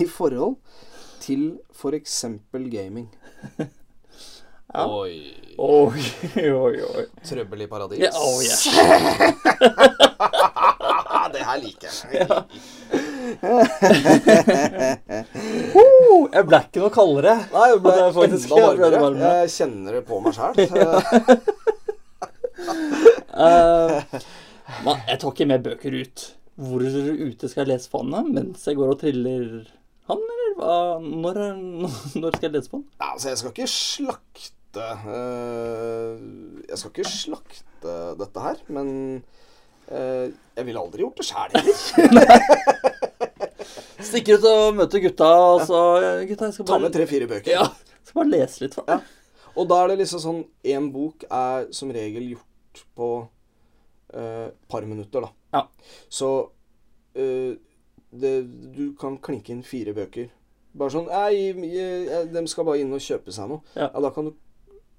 i forhold til f.eks. gaming. *laughs* Ja. Oi. Oi, oi, oi. Trøbbel i paradis. Ja, oh, yeah. *laughs* det her liker jeg. Oh, jeg ble ikke noe kaldere. Nei, jeg ble Og det er faktisk- enda jeg ble varmere. varmere. Jeg kjenner det på meg sjæl. Eh, nei, jeg tar ikke med bøker ut. Hvor ute skal jeg lese på han da? Mens jeg går og triller han, eller hva? Når, er- *laughs* når skal jeg lese på han? Altså, jeg skal ikke slakte eh, Jeg skal ikke slakte dette her, men eh, jeg ville aldri gjort det sjæl heller. Stikker ut og møter gutta, og så Gutta, jeg skal Ta bare med tre-fire bøker. Ja, skal bare lese litt for deg. Og da er det liksom sånn Én bok er som regel gjort på et par minutter, da. Ja. Så eh, det, du kan klinke inn fire bøker. Bare sånn Nei, eh, de skal bare inn og kjøpe seg noe. Ja. da kan du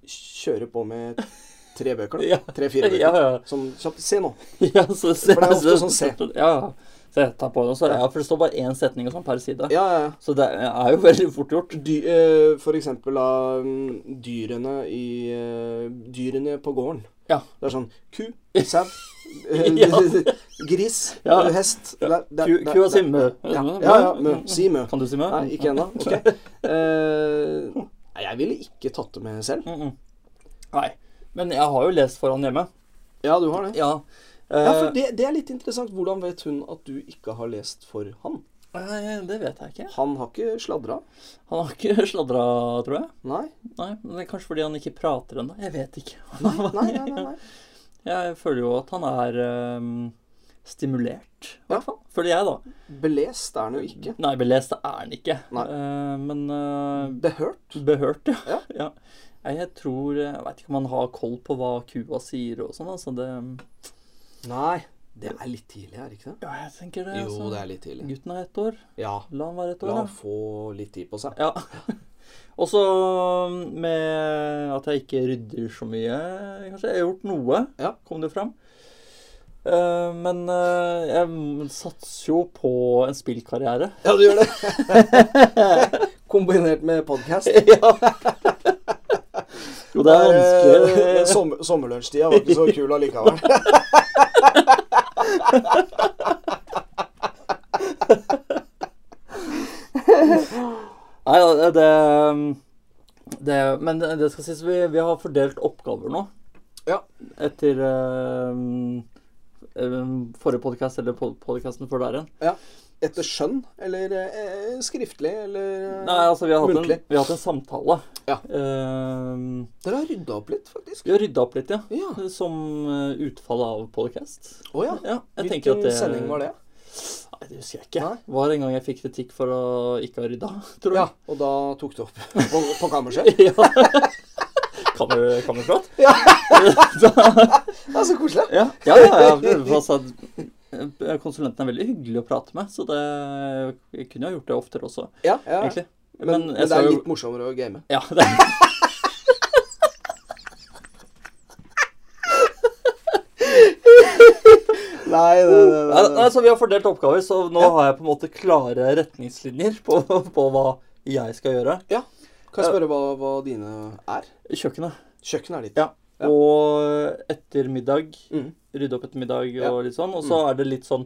kjøre på med Tre bøker, *laughs* Ja. da. Tre-fire bøker. Ja, ja. Sånn kjapt. Se nå. *laughs* ja så, så, For det er ofte sånn C. Ja, ja. så jeg tar på den, så ja, for det står bare én setning og sånn per side. Ja, ja, ja. Så det er jo veldig fort gjort. Dy, eh, for eksempel av mm, dyrene i eh, Dyrene på gården. Ja. Det er sånn *laughs* ku, sau, eh, *laughs* Ja. gris, Ja. hest Ja. det- det- Ku det- ku og si det- mø. Ja, ja, ja, mø. Si mø. Mm, Kan du si mø? Nei, ikke ennå. Ok. *laughs* Eh, nei, jeg ville ikke tatt det med selv. Mm, mm. Nei. Men jeg har jo lest for han hjemme. Ja, du har det. Ja. Ja, for Eh, det, det er litt interessant. Hvordan vet hun at du ikke har lest for han? nei, det vet jeg ikke. Han har ikke sladra. Han har ikke *laughs* sladra, tror jeg. Nei. Nei, men det er Kanskje fordi han ikke prater ennå. Jeg vet ikke. *laughs* Nei, nei, nei, nei, nei. Jeg føler jo at han er ehm, stimulert, i Ja. hvert fall. Føler jeg, da. Belest er han jo ikke. Nei, belest er han ikke. Nei. Eh, men eh, Behørt. behørt, ja. Ja. *laughs* Ja. Nei, Jeg tror eh, Jeg veit ikke om han har koll på hva kua sier og sånn, altså. Det Nei. Det er litt tidlig, er det ikke det? Ja, jeg tenker det. Jo, altså. det er litt tidlig. Gutten er ett år. Ja. La han være ett år, La da. han få litt tid på seg. Ja. *laughs* Og så mm, med at jeg ikke rydder så mye, kanskje. Jeg har gjort noe, Ja. kom det fram. Eh, men eh, jeg m- satser jo på en spillkarriere. Ja, du gjør det. *laughs* Kombinert med podkast. *laughs* ja. Jo, det er eh, vanskelig. Sommer, sommerlunsjtida var ikke så kul allikevel. *laughs* Nei, ja, det, det Men det skal sies, vi, vi har fordelt oppgaver nå. Ja. Etter eh, eh, forrige podkast, eller podkasten før der igjen. Etter skjønn, eller eh, skriftlig, eller eh, Nei, altså, vi har hatt, Muntlig. en, vi har hatt en samtale. Ja. Eh, Dere har rydda opp litt, faktisk. vi har rydda opp litt, ja. Ja. Som eh, utfall av podcast. Å ja. Ja, jeg tenker Hvilken at det, sending var det? Nei, det husker jeg ikke. Nei. Det var en gang jeg fikk kritikk for å ikke ha rydda, *laughs* tror Ja, jeg. og da tok du opp *laughs* på, på kammerset? Ja. Kan du, kan du prate? *laughs* Ja. Da- Ja, så koselig. ja, ja, ja, ja. Altså, eh, konsulenten er veldig hyggelig å prate med, så det, jeg kunne jo gjort det oftere også, Ja, ja. egentlig. Men, men, jeg det skal er jo- litt morsommere å game. Ja, det Nei, nei, Nei, nei, så Vi har fordelt oppgaver, så nå har jeg på en måte klare retningslinjer på, på hva jeg skal gjøre. Ja. Kan jeg spørre hva, hva dine er? Kjøkkenet. Kjøkkenet er ditt. Ja. Ja. Og ettermiddag. Mhm. Rydde opp etter middag Ja. Mm. og litt sånn. Og så er det litt sånn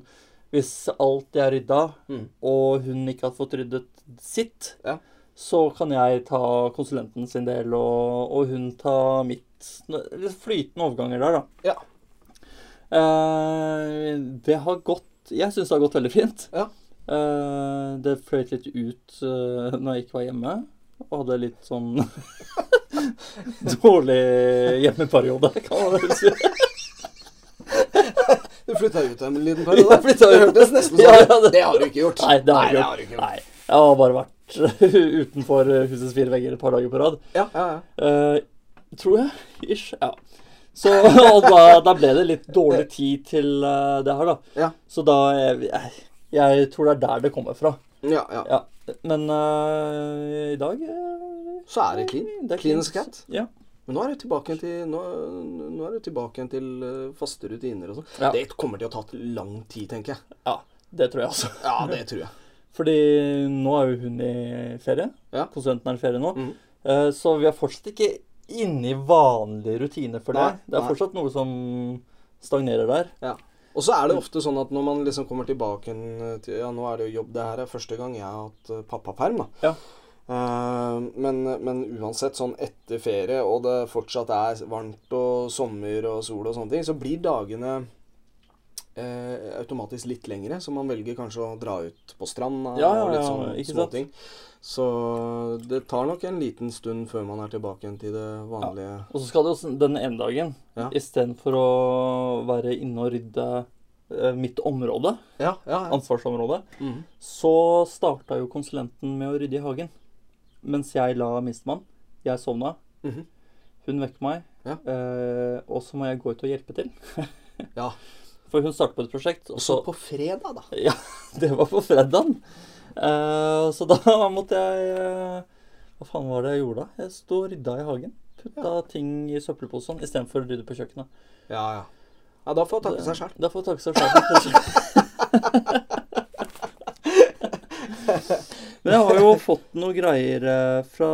Hvis alt er rydda, Mhm. og hun ikke har fått ryddet sitt, Ja. så kan jeg ta konsulenten sin del, og, og hun ta mitt. Litt flytende overganger der, da. Ja. Eh, det har gått Jeg syns det har gått veldig fint. Ja. Eh, det fløyt litt ut eh, når jeg ikke var hjemme, og hadde litt sånn *laughs* dårlig hjemmeperiode, kan man vel si. Du flytta ut en liten Ja, periode. flytta det ut. hørtes nesten *laughs* Ja, sånn ut. ja, det- det... har du ikke gjort. Nei, det har jeg Nei, ikke du gjort. Nei, jeg har bare vært *laughs* utenfor husets fire vegger et par dager på rad. Ja, ja, ja. Eh, tror jeg. Ish. Ja. Så *laughs* og da, da ble det litt dårlig tid til eh, det her, da. Ja. Så da jeg, jeg, jeg tror det er der det kommer fra. Ja, ja. Ja. Men eh, i dag eh, Så er det clean. det er Clean as cat. Ja. Men nå er du tilbake igjen til, nå, nå er du tilbake igjen til eh, faste rutiner og sånn. Ja. Det kommer til å ta lang tid, tenker jeg. ja. Det tror jeg, altså. Ja, *laughs* det tror jeg. Fordi nå er jo hun i ferie. Ja. Konsulenten er i ferie nå. Mhm. Eh, Så vi er fortsatt ikke inne i vanlige rutiner for det. Nei, det er nei. fortsatt noe som stagnerer der. Ja. Og så er det ofte sånn at når man liksom kommer tilbake igjen til Ja, nå er det jo jobb. Det her er første gang jeg har hatt eh, pappaperm, da. Ja. Eh, men, men uansett, sånn etter ferie, og det fortsatt er varmt og sommer og sol og sånne ting, så blir dagene eh, automatisk litt lengre. Så man velger kanskje å dra ut på stranda Ja, ja, og litt ja, sånn ikke sant? småting. Så det tar nok en liten stund før man er tilbake igjen til det vanlige. Og så skal det jo den ene dagen, Ja. istedenfor å være inne og rydde eh, mitt område, Ja, ja. ja. ansvarsområdet, Mhm. så starta jo konsulenten med å rydde i hagen. Mens jeg la minstemann. Jeg sovna. Mhm. Hun vekker meg. Ja. Eh, og så må jeg gå ut og hjelpe til. *laughs* ja. For hun starter på et prosjekt, og Og så så på fredag, da. Ja, *laughs* det var på fredagen. *laughs* Eh, så da måtte jeg eh, Hva faen var det jeg gjorde da? Jeg sto og rydda i hagen. Putta ting i søppelposen istedenfor å rydde på kjøkkenet. Ja, ja. Ja, Da får hun takke seg sjæl. Da får hun takke seg sjøl. *laughs* Men jeg har jo fått noen greier eh, fra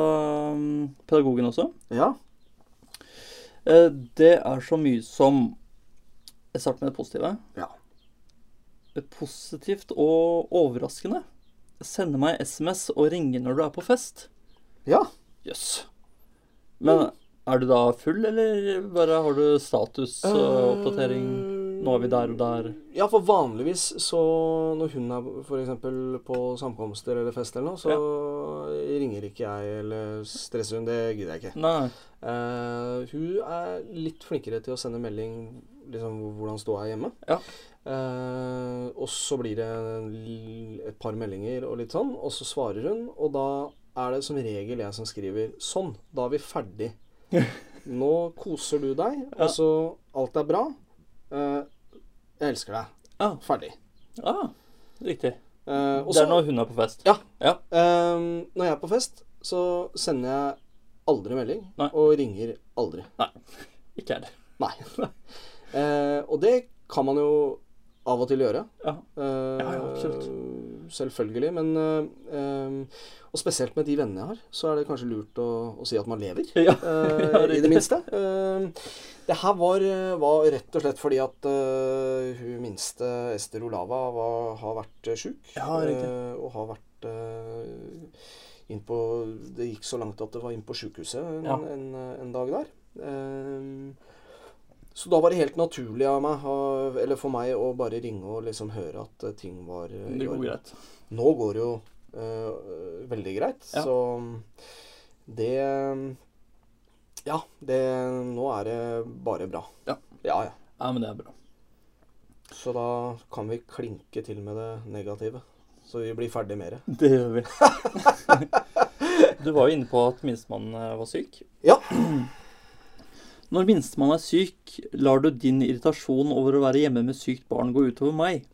mm, pedagogen også. Ja. Eh, Det er så mye som Jeg starter med det positive. Ja. Positivt og overraskende. Sende meg SMS og ringe når du er på fest. ja. Jøss. Men er du da full, eller bare har du Eh, statusoppdatering? Nå er vi der og der. Ja, for vanligvis så når hun er f.eks. på samkomster eller fest eller noe, så ringer ikke jeg eller stresser hun. Det gidder jeg ikke. Nei. Eh, hun er litt flinkere til å sende melding liksom hvor- hvordan ståa er hjemme. Ja. Eh, og så blir det en l- et par meldinger og litt sånn, og så svarer hun. Og da er det som regel jeg som skriver 'sånn, da er vi *laughs* ferdig'. Nå koser du deg, Ja. og så alt er bra. Eh, jeg elsker deg. Ja. Ferdig. Ja, Ah, riktig. Eh, og det så, er når hun er på fest. Ja. Ja. eh, når jeg er på fest, så sender jeg aldri melding, Nei. og ringer aldri. Ikke er det. Nei. *laughs* Eh, og det kan man jo av og til gjøre. Ja. Eh, Ja, ja, absolutt. Selvfølgelig. Men eh, eh, Og spesielt med de vennene jeg har, så er det kanskje lurt å, å si at man lever. *laughs* Ja. Eh, Ja, I riktig. det minste. Eh, det her var, eh, var rett og slett fordi at eh, hun minste Ester Olava var, har vært eh, sjuk. Ja, riktig. eh, og har vært eh, inn på Det gikk så langt at det var inn på sjukehuset en, Ja. en, en dag der. Eh, så da var det helt naturlig av meg, å- eller for meg, å bare ringe og liksom høre at eh, ting var eh, i Det går orden. greit. Nå går det jo eh, veldig greit, Ja. så det Ja, det Nå er det bare bra. Ja. ja, ja. Ja, men det er bra. Så da kan vi klinke til med det negative. Så vi blir ferdig med det. *laughs* Det gjør vi. du var jo inne på at minstemann eh, var syk. Ja. *clears throat* Når minstemann er syk, lar du din irritasjon over å være hjemme med sykt barn gå utover meg.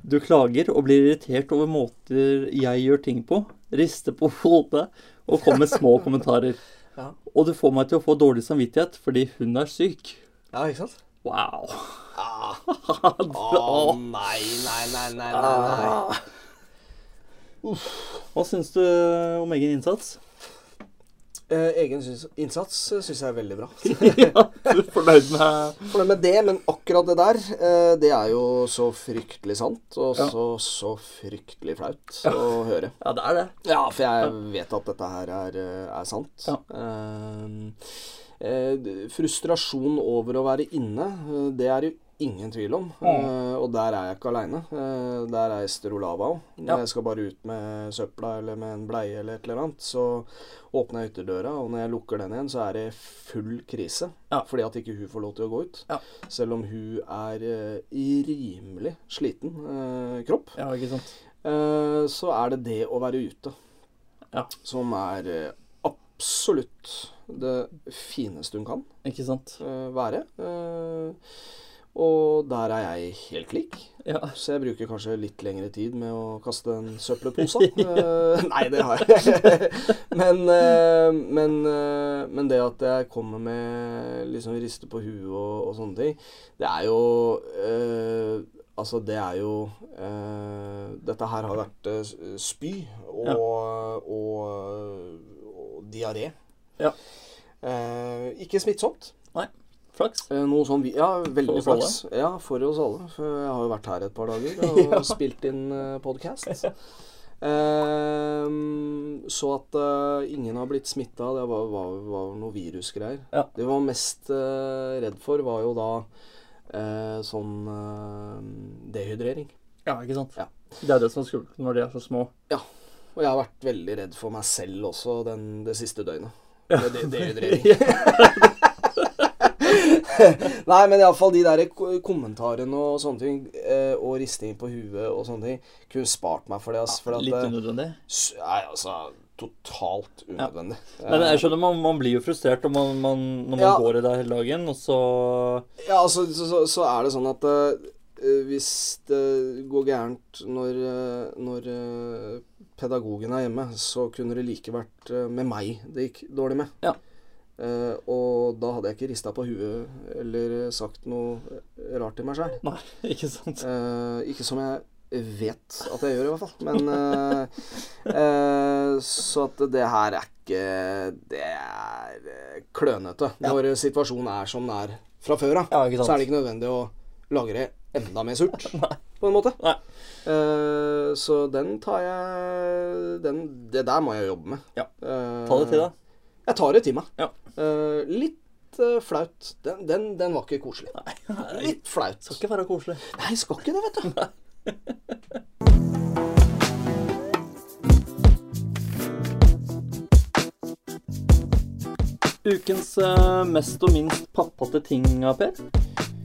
Du klager og blir irritert over måter jeg gjør ting på, rister på hodet og kommer med *laughs* små kommentarer. Ja. Og du får meg til å få dårlig samvittighet fordi hun er syk. Ja, ikke sant? Wow. *laughs* Ah. Bra. nei, nei, nei, nei, Ah. Hva syns du om egen innsats? Eh, egen syns- innsats syns jeg er veldig bra. *laughs* ja, du er fornøyd med For det med det, men akkurat det der, eh, det er jo så fryktelig sant, og Ja. så, så fryktelig flaut å høre. Ja, det er det. Ja, for jeg vet at dette her er, eh, er sant. Ja. Eh, eh, d- frustrasjon over å være inne, eh, det er det jo ingen tvil om. Mm. Eh, og der er jeg ikke aleine. Eh, der er Ester Olava òg. Når Ja. jeg skal bare ut med søpla eller med en bleie eller et eller annet, så åpner jeg ytterdøra, og når jeg lukker den igjen, så er det full krise. Ja. Fordi at ikke hun får lov til å gå ut. Ja. Selv om hun er eh, i rimelig sliten eh, kropp. Ja, ikke sant. Eh, så er det det å være ute Ja. som er eh, absolutt det fineste hun kan Ikke sant. eh, være. Eh, og der er jeg helt lik, Ja. så jeg bruker kanskje litt lengre tid med å kaste en *laughs* søppelpose. Eh, nei, det har jeg. *laughs* men, eh, men, eh, men det at jeg kommer med liksom riste på huet og, og sånne ting, det er jo eh, Altså, det er jo eh, Dette her har vært eh, spy og, Ja. og, og, diaré. Ja. Eh, ikke smittsomt. Flaks. Eh, Noe sånn, vi- ja, For veldig oss flaks. Ja, for oss alle. For Jeg har jo vært her et par *laughs* dager og Ja. spilt inn eh, *laughs* podcast. Ehm, så at eh, ingen har blitt smitta, det var, var, var noe virusgreier. Ja. Det vi var mest eh, redd for, var jo da eh, sånn eh, dehydrering. Ja, ikke sant. Ja. Det er det som er skummelt når de er så små. Og jeg har vært veldig redd for meg selv også den, det siste døgnet. Ja. Med de- *laughs* dehydrering. *laughs* Nei, men iallfall de der ko- kommentarene og sånne ting, eh, og risting på huet og sånne ting, kunne spart meg for det. ass, for at Litt det unødvendig. s- er altså totalt unødvendig. Nei, men jeg skjønner, man, man blir jo frustrert når man, man, når man Ja. går i det hele dagen, og så Ja, altså, så, så, så er det sånn at eh, hvis det går gærent når, eh, når eh, pedagogen er hjemme, så kunne det like vært eh, med meg det gikk dårlig med. Ja. Eh, og da hadde jeg ikke rista på huet eller sagt noe eh, rart til meg sjøl. Nei, *laughs* ikke sant? Eh, ikke som jeg vet at jeg gjør, i hvert fall. Men eh, eh, Så at det her er ikke Det er eh, klønete. Ja. Når situasjonen er som den er fra før av, Ja, ikke sant. så er det ikke nødvendig å lagre enda mer surt, på en måte. *laughs* Nei. Eh, så den tar jeg den, Det der må jeg jobbe med. Ja. Eh, Ta det til deg. Jeg tar det til meg. Ja. Eh, litt eh, flaut. Den, den, den var ikke koselig. Litt flaut. Skal ikke være koselig. Nei, skal ikke det, vet du. Ukens eh, mest og minst pappate ting, Per.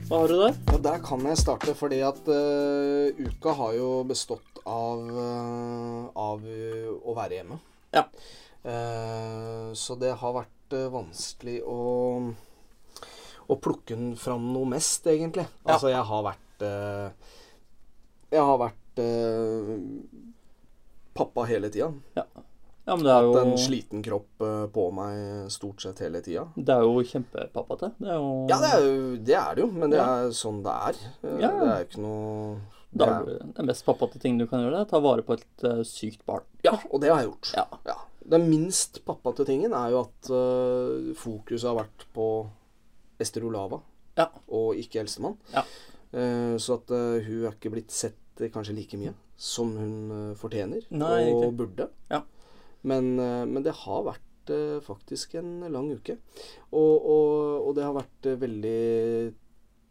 Hva har du der? Ja, der kan jeg starte, fordi at eh, uka har jo bestått av, eh, av eh, å være hjemme. Ja. Eh, så det har vært eh, vanskelig å, å plukke den fram noe mest, egentlig. Ja. Altså, jeg har vært eh, Jeg har vært eh, pappa hele tida. Ja, men det er Hatt en jo, sliten kropp eh, på meg stort sett hele tida. det er jo kjempepappate. Det er jo Ja, det er, jo, det er det jo, men det Ja. er sånn det er. Eh, Ja. Det er jo ikke noe Da det er er- det det mest pappate ting du kan gjøre, det er å ta vare på et eh, sykt barn. Ja, og det har jeg gjort. Ja. Den minst pappate tingen er jo at eh, fokuset har vært på Esterolava Ja. og ikke Elsemann. Ja. Eh, så at eh, hun er ikke blitt sett eh, kanskje like mye som hun eh, fortjener Nei, og riktig. burde. Ja. Men, eh, men det har vært eh, faktisk en lang uke. Og, og, og det har vært eh, veldig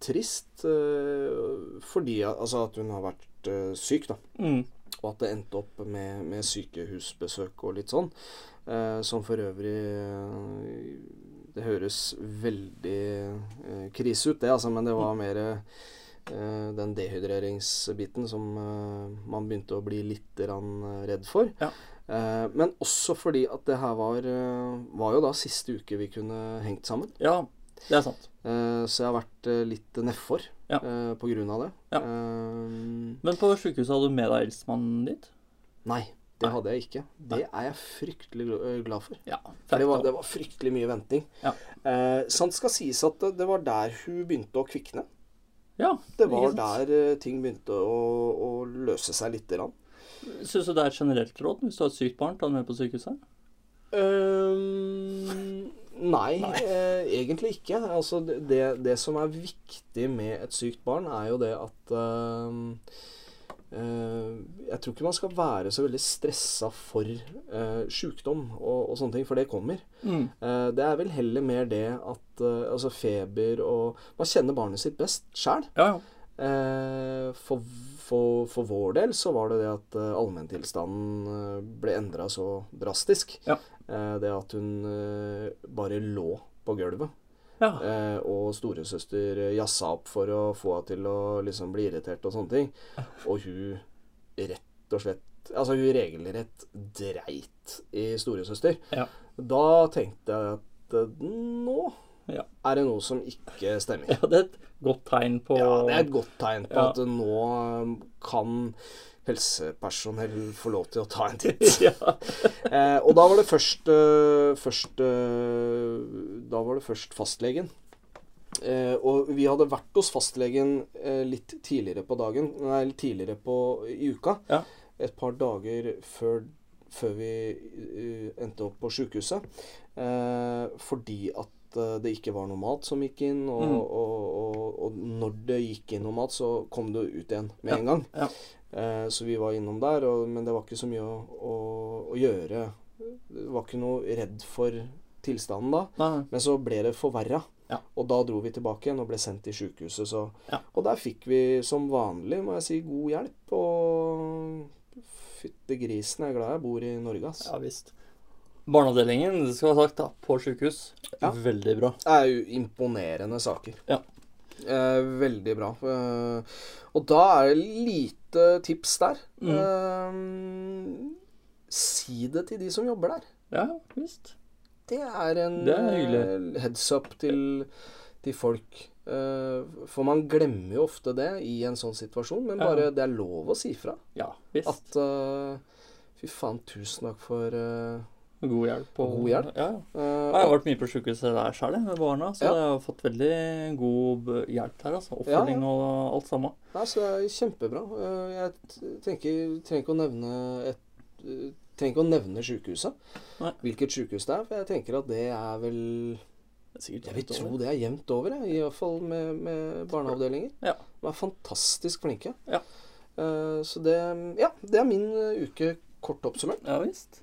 trist eh, fordi at- altså at hun har vært eh, syk, da Mm. og at det endte opp med, med sykehusbesøk og litt sånn. Eh, som for øvrig eh, Det høres veldig eh, krise ut, det, altså, men det Mm. var mer eh, den dehydreringsbiten som eh, man begynte å bli litt rann, eh, redd for. Ja. Eh, men også fordi at det her var, eh, var jo da siste uke vi kunne hengt sammen. Ja, det er sant. Eh, så jeg har vært eh, litt nedfor Ja. eh, på grunn av det. Ja. Eh, Men på sykehuset hadde du med deg Elsmannen dit? Nei, det Nei. hadde jeg ikke. Det er jeg fryktelig gl- øh, glad for. Ja. For det var, det var fryktelig mye venting. Ja. Eh, sant skal sies at det- det var der hun begynte å kvikne. ja. Det var ikke sant? der eh, ting begynte å, å løse seg lite grann. Syns du det er et generelt råd hvis du har et sykt barn, ta det med på sykehuset? Øhm, Ehm, nei, eh, egentlig ikke. Altså, det, det- det som er viktig med et sykt barn, er jo det at øhm, eh, Jeg tror ikke man skal være så veldig stressa for uh, sjukdom og, og sånne ting, for det kommer. Mm. Eh, Det er vel heller mer det at eh, altså feber og Man kjenner barnet sitt best sjæl. Ja, ja. For, for, for vår del så var det det at eh, allmenntilstanden eh, ble endra så drastisk. Ja. Eh, Det at hun eh, bare lå på gulvet. ja. Eh, og storesøster eh, jassa opp for å få henne til å liksom bli irritert og sånne ting. Og hun rett og slett Altså, hun regelrett dreit i storesøster. Ja. *laughs* Da tenkte jeg at eh, nå Ja. er det noe som ikke stemmer. ja, det er et godt tegn på Ja, det er et godt tegn på Ja. at nå eh, kan helsepersonell få lov til å ta en titt. *laughs* ja. Eh, og da var det først, eh, først eh, Da var det først fastlegen. Eh, og vi hadde vært hos fastlegen eh, litt tidligere på dagen Nei, litt tidligere på, i uka. Ja. Et par dager før, før vi eh, endte opp på sjukehuset. Eh, fordi at eh, det ikke var noe mat som gikk inn, og, Mm. og, og, og når det gikk inn noe mat, så kom det ut igjen med Ja, en gang. ja. Eh, så vi var innom der, og, men det var ikke så mye å, å, å gjøre. Det var ikke noe redd for tilstanden da. Nei, nei. Men så ble det forverra. Ja. Og da dro vi tilbake igjen og ble sendt til sjukehuset. Så. Ja. Og der fikk vi som vanlig, må jeg si, god hjelp. Og fytte grisen, jeg er glad jeg bor i Norge, ass. Ja visst. Barneavdelingen, det skal være sagt, da, på sjukehus. Ja. Veldig bra. Det er jo imponerende saker. Ja. Eh, veldig bra. Eh, og da er det lite tips der. Mm. Eh, si det til de som jobber der. Ja visst. Det er en Det er hyggelig. eh, heads up til, til folk. Eh, for man glemmer jo ofte det i en sånn situasjon, men Ja. bare det er lov å si fra. Ja visst. At eh, Fy faen, tusen takk for eh, God hjelp. Og, God hjelp. Ja, ja. Eh, Ja, Jeg har vært mye på sykehuset der selv, jeg, med barna, så Ja. jeg har fått veldig god b- hjelp der. altså. Ja, Oppfølging og alt sammen. Nei, så det er kjempebra. Eh, Jeg t- tenker, trenger ikke å nevne et, eh, trenger ikke å nevne sykehuset. Nei. Hvilket sykehus det er. For jeg tenker at det er vel Det er sikkert Jeg vil jevnt tro over. det er jevnt over, jeg. I hvert fall med, med barneavdelinger. Ja. De er fantastisk flinke. Ja. Eh, Så det Ja, det er min eh, uke kort oppsummert. Ja visst.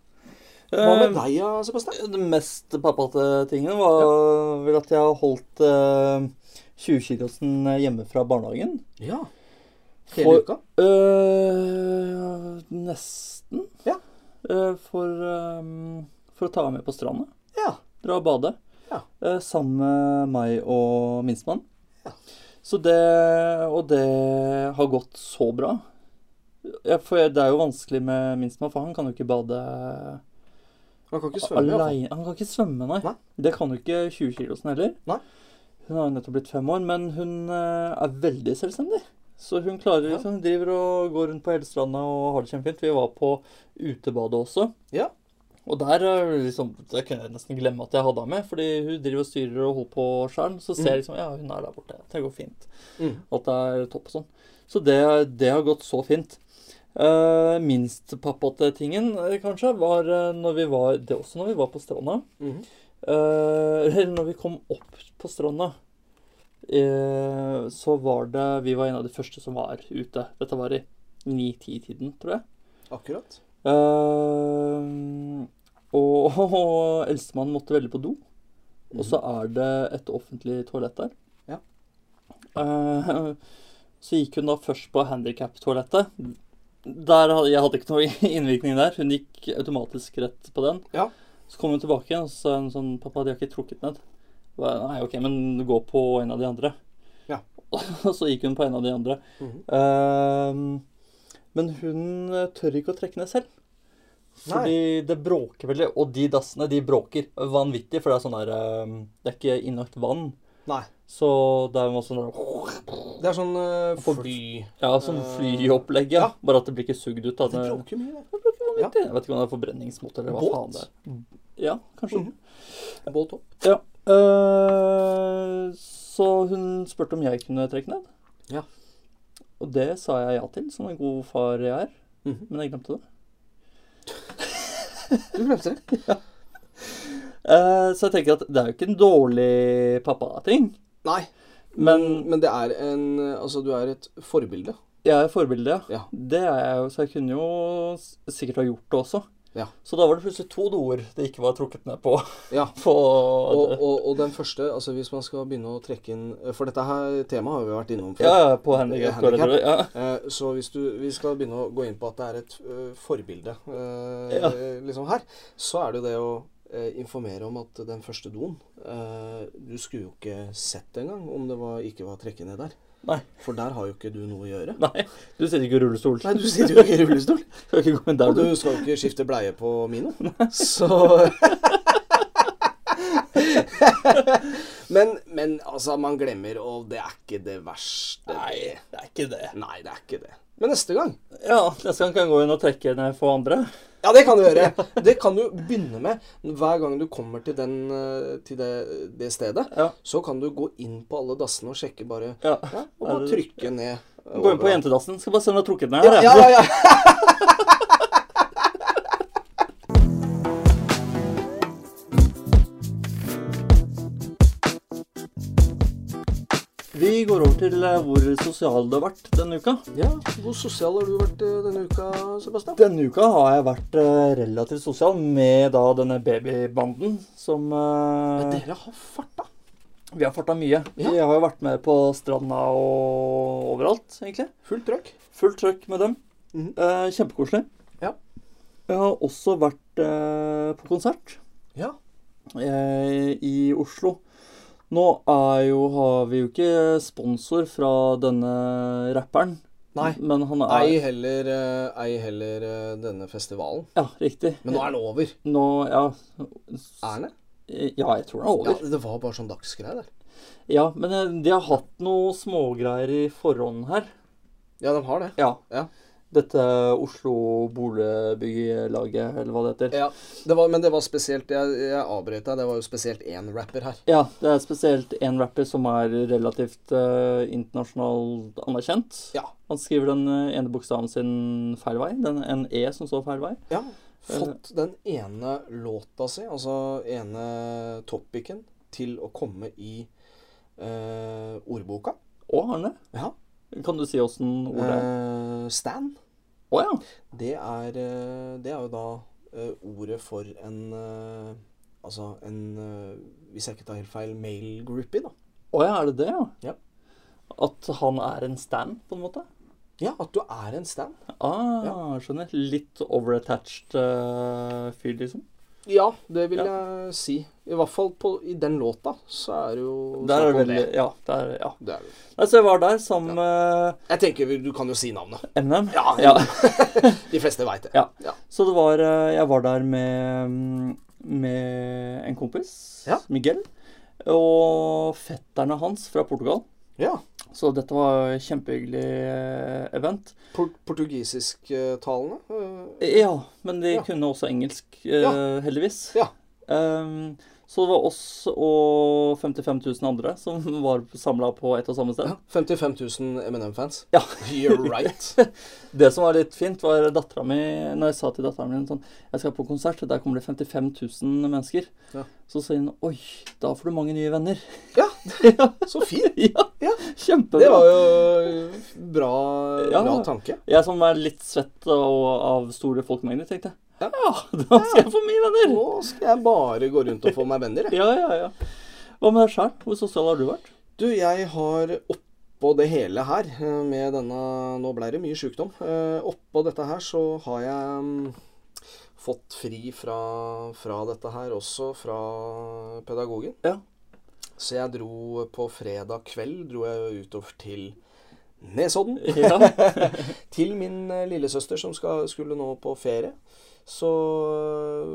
Hva med Eh, deg, ja, Sebastian? Den mest pappate tingen var vel at jeg har holdt eh, 20-kilosen hjemme fra barnehagen. Ja. For- Hele uka? Eh, nesten. Ja. Eh, for, eh, for å ta henne med på stranda. Ja. Dra og bade. Ja. Eh, sammen med meg og minstemann. Ja. Så det Og det har gått så bra. Ja, for jeg- det er jo vanskelig med minstemann, for han kan jo ikke bade Man kan ikke svømme, iallfall. aleine. Han kan ikke svømme, nei. Nei. Det kan jo ikke 20-kilosen heller. Nei. Hun har jo nettopp blitt fem år, men hun eh, er veldig selvstendig. Så hun klarer Ja. liksom, hun driver og går rundt på hele stranda og har det kjempefint. Vi var på utebadet også. Ja. Og der eh, liksom, det kunne jeg nesten glemme at jeg hadde henne med, fordi hun driver og styrer og holder på sjøl. Så ser jeg liksom ja, hun er der borte. Det går fint. Mm. Alt er topp og sånn. Så det, det har gått så fint. Uh, minst pappate-tingen, eh, kanskje, var eh, når vi var Det er også når vi var på stranda. Mhm. Eh, Eller når vi kom opp på stranda, eh, så var det Vi var en av de første som var ute. Dette var i 9-10-tiden, tror jeg. Akkurat. Ehm, og, *laughs* og eldstemann måtte veldig på do. Mhm. Og så er det et offentlig toalett der. Ja. Ehm, så gikk hun da først på handikap-toalettet. Der hadde, jeg hadde ikke noe *laughs* innvirkning der. Hun gikk automatisk rett på den. Ja. Så kom hun tilbake igjen og så sa hun sånn 'Pappa, de har ikke trukket ned.' Jeg ba, Nei, OK, men gå på en av de andre. Ja. *laughs* Og så gikk hun på en av de andre. Mhm. Ehm, men hun eh, tør ikke å trekke ned selv. Fordi det bråker veldig. Og de dassene de bråker vanvittig, for det er sånn der ehm, Det er ikke innlagt vann. Nei. Så det er masse sånn der- Det er sånn eh, For- fly... Ja, sånn flyopplegg, ja. Eh, Ja. Bare at det blir ikke sugd ut. Da. Det Det bråker mye, det. bråker vanvittig. Jeg vet ikke om det er forbrenningsmotor eller hva Båt? faen det er. Ja, kanskje. Mhm. Båt opp. Ja. eh, så hun spurte om jeg kunne trekke ned. Mhm. Ja. Og det sa jeg ja til, som en god far jeg er. Mhm. Men jeg glemte det. Du glemte det. Eh, så jeg tenker at det er jo ikke en dårlig pappa-ting. Nei. Men, Men- men det er en Altså, du er et forbilde. Jeg er forbilde, ja. Ja. Det er jeg jo, så jeg kunne jo s- sikkert ha gjort det også. Ja. Så da var det plutselig to doer det ikke var trukket ned på. Ja. *laughs* på Og, og, og den første, altså hvis man skal begynne å trekke inn For dette her temaet har vi vært innom før. ja, på handikap. Handicap. tror jeg, Ja. Eh, Så hvis du, vi skal begynne å gå inn på at det er et eh, forbilde eh, Ja. liksom her, så er det jo det å eh, informere om at den første doen eh, Du skulle jo ikke sett engang om det var, ikke var trekke ned der. Nei. For der har jo ikke du noe å gjøre. Nei, du sitter ikke i rullestol. Nei, du sitter jo ikke i rullestol. *laughs* Skal ikke gå inn der, Og du. du skal jo ikke skifte bleie på *laughs* Mino. Så men, men altså, man glemmer, og det er ikke det verste. Nei, det er ikke det. Nei, det er ikke det. Men neste gang Ja, neste gang kan jeg gå inn og trekke ned for andre. Ja, det kan du gjøre. Det kan du begynne med. Hver gang du kommer til, den, eh, til det, det stedet, Ja. så kan du gå inn på alle dassene og sjekke bare ja. ja, Og bare trykke ned. eh, Gå inn på overalt. jentedassen. Skal bare se om det er trukket ned her. jeg. Ja, ja, ja. Vi går over til eh, hvor sosial du har vært denne uka. ja. Hvor sosial har du vært eh, denne uka, Sebastian? Denne uka har jeg vært eh, relativt sosial med da denne babybanden som eh, Men dere har farta. Vi har farta mye. Ja. Vi har jo vært med på stranda og overalt, egentlig. Fullt trøkk. Fullt trøkk med dem. Mhm. Eh, kjempekoselig. Ja. Jeg har også vært eh, på konsert Ja. eh, i Oslo. Nå er jo, har vi jo ikke sponsor fra denne rapperen, Nei. men han er Ei heller, eh, ei heller eh, denne festivalen. Ja, riktig. Men nå er den over. Nå, ja. Er den det? Ja, jeg tror den er over. Ja, det var bare sånn dagsgreie der. Ja, men eh, de har hatt noe smågreier i forhånd her. Ja, de har det. Ja. Ja. dette Oslo Boligbyggelaget, eller hva det heter. Ja, det var, men det var spesielt Jeg, jeg avbrøt deg. Det var jo spesielt én rapper her. Ja, det er spesielt én rapper som er relativt eh, internasjonalt anerkjent. Ja. Han skriver den eh, ene bokstaven sin feil vei. Den, en E som står feil vei. ja. Fått den ene låta si, altså ene topicen, til å komme i eh, ordboka. Å, Arne, Ja. kan du si åssen ordet er? Eh, Stan. Å ja. Det er, eh, det er jo da eh, ordet for en eh, Altså en eh, Hvis jeg ikke tar helt feil, male groupie, da. Å ja, er det det, ja? Ja. At han er en stand, på en måte? Ja, at du er en stan. Ah, skjønner. Litt overattached eh, fyr, liksom. Ja, det vil jeg si. I hvert fall på, i den låta, så er det jo Der er snakk om veldig, ja, der, ja. Det er det. Nei, så jeg var der sammen med Jeg tenker vi- du kan jo si navnet. NM. Ja, ja. De fleste veit det. Ja. Ja. Så det var eh, Jeg var der med, mm, med en kompis, Ja. Miguel, og fetterne hans fra Portugal. ja. Så dette var et kjempehyggelig eh, event. Por Portugisisktalende? eh, Ja, men de Ja. kunne også engelsk, eh, Ja. heldigvis. Ja. Ehm, så det var oss og 55 000 andre som *laughs* var samla på ett og samme sted. 55 000 Eminem-fans. Ja. You're *laughs* right. Det som var litt fint, var dattera mi Når jeg sa til dattera mi sånn Jeg skal på konsert, og der kommer det 55 000 mennesker. Ja. Så sier hun Oi, da får du mange nye venner. *laughs* Ja, ja, så fint. Ja. Kjempebra. Det var jo bra, Ja. bra tanke. Jeg som er litt svett og av store folkemengder, tenkte Ja. jeg. Ja, da skal jeg få mye venner. Nå skal jeg bare gå rundt og få meg venner. jeg. Ja, ja, ja. Hva med deg sjøl? Hvor sosial har du vært? Du, jeg har oppå det hele her eh, med denne Nå ble det mye sjukdom. Eh, Oppå dette her så har jeg mm, fått fri fra, fra dette her også, fra pedagogen. Ja. Så jeg dro på fredag kveld dro jeg utover til Nesodden. Ja. Til min eh, lillesøster som skal, skulle nå på ferie. Så øh,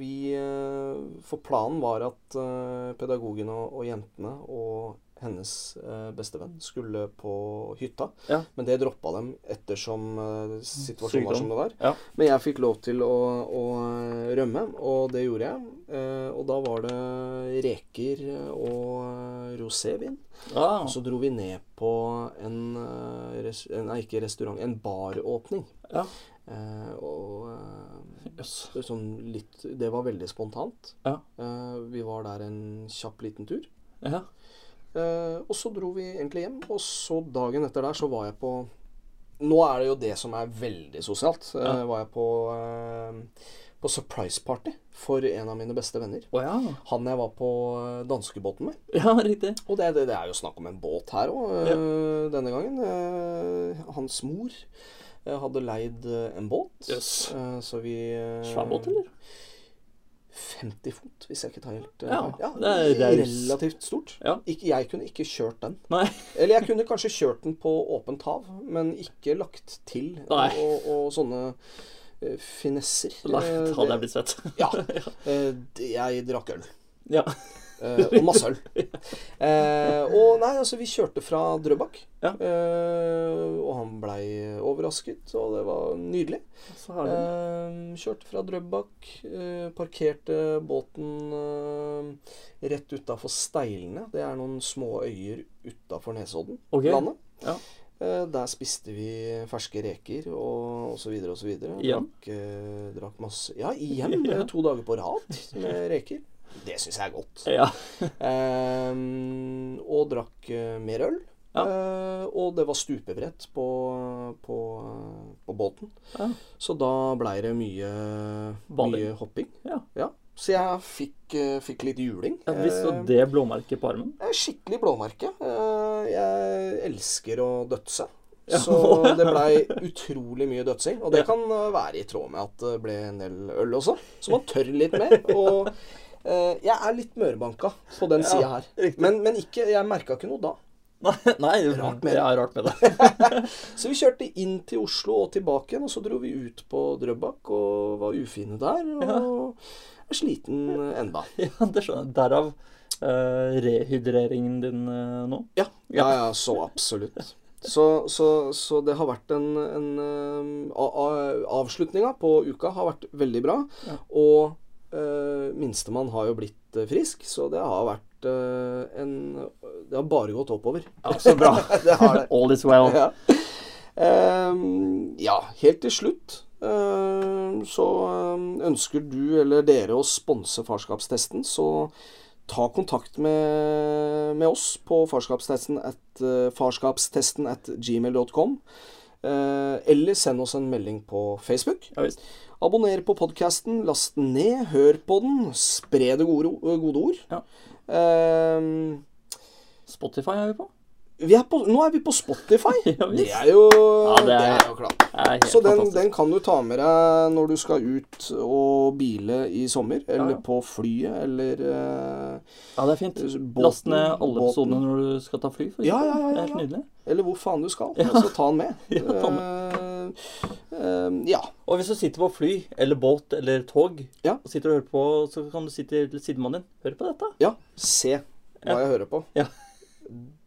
vi eh, For planen var at eh, pedagogen og, og jentene og hennes eh, bestevenn skulle på hytta. Ja. Men det droppa dem ettersom eh, situasjonen var som det var. Ja. Men jeg fikk lov til å, å eh, rømme, og det gjorde jeg. Eh, og da var det reker og eh, rosévin. Ah, Og så dro vi ned på en, eh, res en Nei, ikke restaurant, en baråpning. Ja. Eh, og eh, Jøss. sånn litt Det var veldig spontant. Ja. Eh, vi var der en kjapp liten tur. ja. Eh, og så dro vi egentlig hjem, og så dagen etter der så var jeg på Nå er det jo det som er veldig sosialt. Eh, Ja. var jeg på, eh, på surprise party for en av mine beste venner. Å ja. Han jeg var på eh, danskebåten med. Ja, riktig. Og det, det, det er jo snakk om en båt her òg, denne gangen. Eh, hans mor eh, hadde leid eh, en båt. Jøss. Eh, så vi eh, Svær båt, eller? 50 fot, hvis jeg ikke tar helt eh, Ja, feil. det er raus. Relativt stort. Ja. Ikke, jeg kunne ikke kjørt den. Nei. Eller jeg kunne kanskje kjørt den på åpent hav, men ikke lagt til Nei. og, og sånne eh, finesser. Nei, Eh, da hadde jeg blitt svett. *laughs* Ja. eh, det- jeg drakk øl. Ja. Eh, og masse øl. Eh, og nei, altså, vi kjørte fra Drøbak. Ja. Eh, og han blei overrasket, og det var nydelig. Så har du Eh, kjørte fra Drøbak, eh, parkerte båten eh, rett utafor Steilene. Det er noen små øyer utafor Nesodden, Ok. landet. Ja. Eh, der spiste vi ferske reker og osv. osv. Igjen? Drakk, eh, drakk masse Ja, igjen. *laughs* Ja. eh, To dager på rad med reker. Det syns jeg er godt. Ja. Ehm, og drakk eh, mer øl. Ja. Eh, og det var stupebrett på, på, på båten. Ja. Så da blei det mye, Bading. mye hopping. Ja. Så jeg fikk, eh, fikk litt juling. Jeg visste Eh, du det blåmerket på armen? det er Skikkelig blåmerke. Eh, Jeg elsker å dødse. Ja. Så *laughs* det blei utrolig mye dødsing. Og det kan eh, være i tråd med at det ble en del øl også, så man tør litt mer. Og eh, jeg er litt mørbanka på den sida her. riktig. Men, men ikke, jeg merka ikke noe da. Nei, *laughs* nei Rart rart med med det. det. Ja, rart med det. Så vi kjørte inn til Oslo og tilbake igjen, og så dro vi ut på Drøbak og var ufine der. Og er sliten enda. *laughs* Ja, det skjønner jeg. Derav eh, rehydreringen din eh, nå. Ja, ja, ja så absolutt. Så, så, så det har vært en, en eh, a- a- Avslutninga på uka har vært veldig bra. Ja. Og eh, minstemann har jo blitt eh, frisk, så det har vært eh, en Det har bare gått oppover. Ja, så bra. *laughs* *laughs* Det har det. All is well. Ja. Ehm, ja, helt til slutt ehm, så ehm, ønsker du eller dere å sponse farskapstesten, så ta kontakt med, med oss på farskapstesten at, eh, farskapstesten at gmail.com. eh, eller send oss en melding på Facebook. Ja, visst. Abonner på podkasten, last den ned, hør på den, spre det gode, eh, gode ord. Ja. Ehm, Spotify er vi på. vi er på, nå er vi på Spotify. *laughs* Ja, Det visst. er jo, Ja, det det er, er- jo klart. Det er helt Så den, fantastisk. den kan du ta med deg når du skal ut og bile i sommer, eller Ja, ja. på flyet, eller eh, Ja, det er fint. båten. Last ned alle båten. episodene når du skal ta fly. For Ja, ja, ja, ja, Det er helt ja. nydelig. Eller hvor faen du skal, så ta den med. *laughs* Ja, ta Eh, eh, ja. Og hvis du sitter på fly eller båt eller tog Ja. og sitter og hører på, så kan du si til sidemannen din Hør på dette. ja. Se hva jeg hører på. Ja.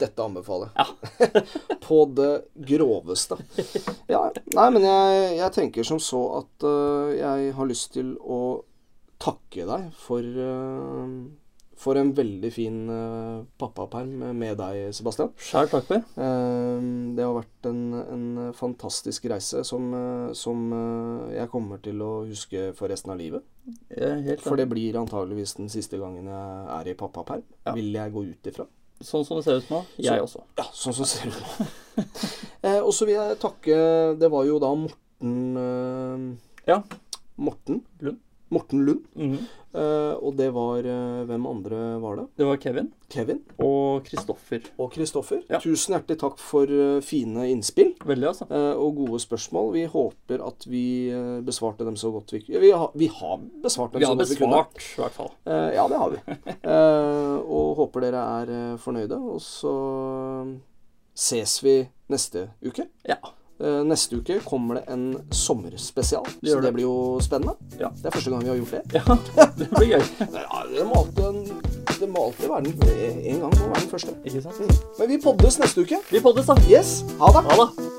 Dette anbefaler jeg. *laughs* på det groveste. Ja, nei, men jeg, jeg tenker som så at eh, jeg har lyst til å takke deg for eh, for en veldig fin eh, pappaperm med deg, Sebastian. Skjær takk for. Ehm, Det har vært en, en fantastisk reise som, eh, som eh, jeg kommer til å huske for resten av livet. Jeg er Helt For enig. det blir antageligvis den siste gangen jeg er i pappaperm, sånn. Ja. vil jeg gå ut ifra. Sånn som det ser ut nå. Jeg også. Ja, sånn som ser ut *laughs* nå. Eh, Og så vil jeg takke Det var jo da Morten eh, Ja. Morten Lund. Morten Lund. Mhm. Eh, Og det var eh, Hvem andre var det? Det var Kevin Kevin og Kristoffer. og Kristoffer. Ja. Tusen hjertelig takk for eh, fine innspill. Veldig, altså. eh, og gode spørsmål. Vi håper at vi eh, besvarte dem så godt vi kunne. Vi, har- vi har besvart dem Vi så har godt vi kunne. besvart, i hvert fall. Eh, ja, det har vi. Eh, og håper dere er eh, fornøyde. Og så eh, ses vi neste uke. Ja. Eh, neste uke kommer det en sommerspesial, Det så gjør det det. blir jo spennende. Ja. Det er første gang vi har gjort det. ja. *laughs* Det blir gøy. Ja, det, må alltid, en- det må alltid være den en gang må være den første. Ikke sant? Men vi poddes neste uke. Vi poddes, da. Yes, ha det! Ha det.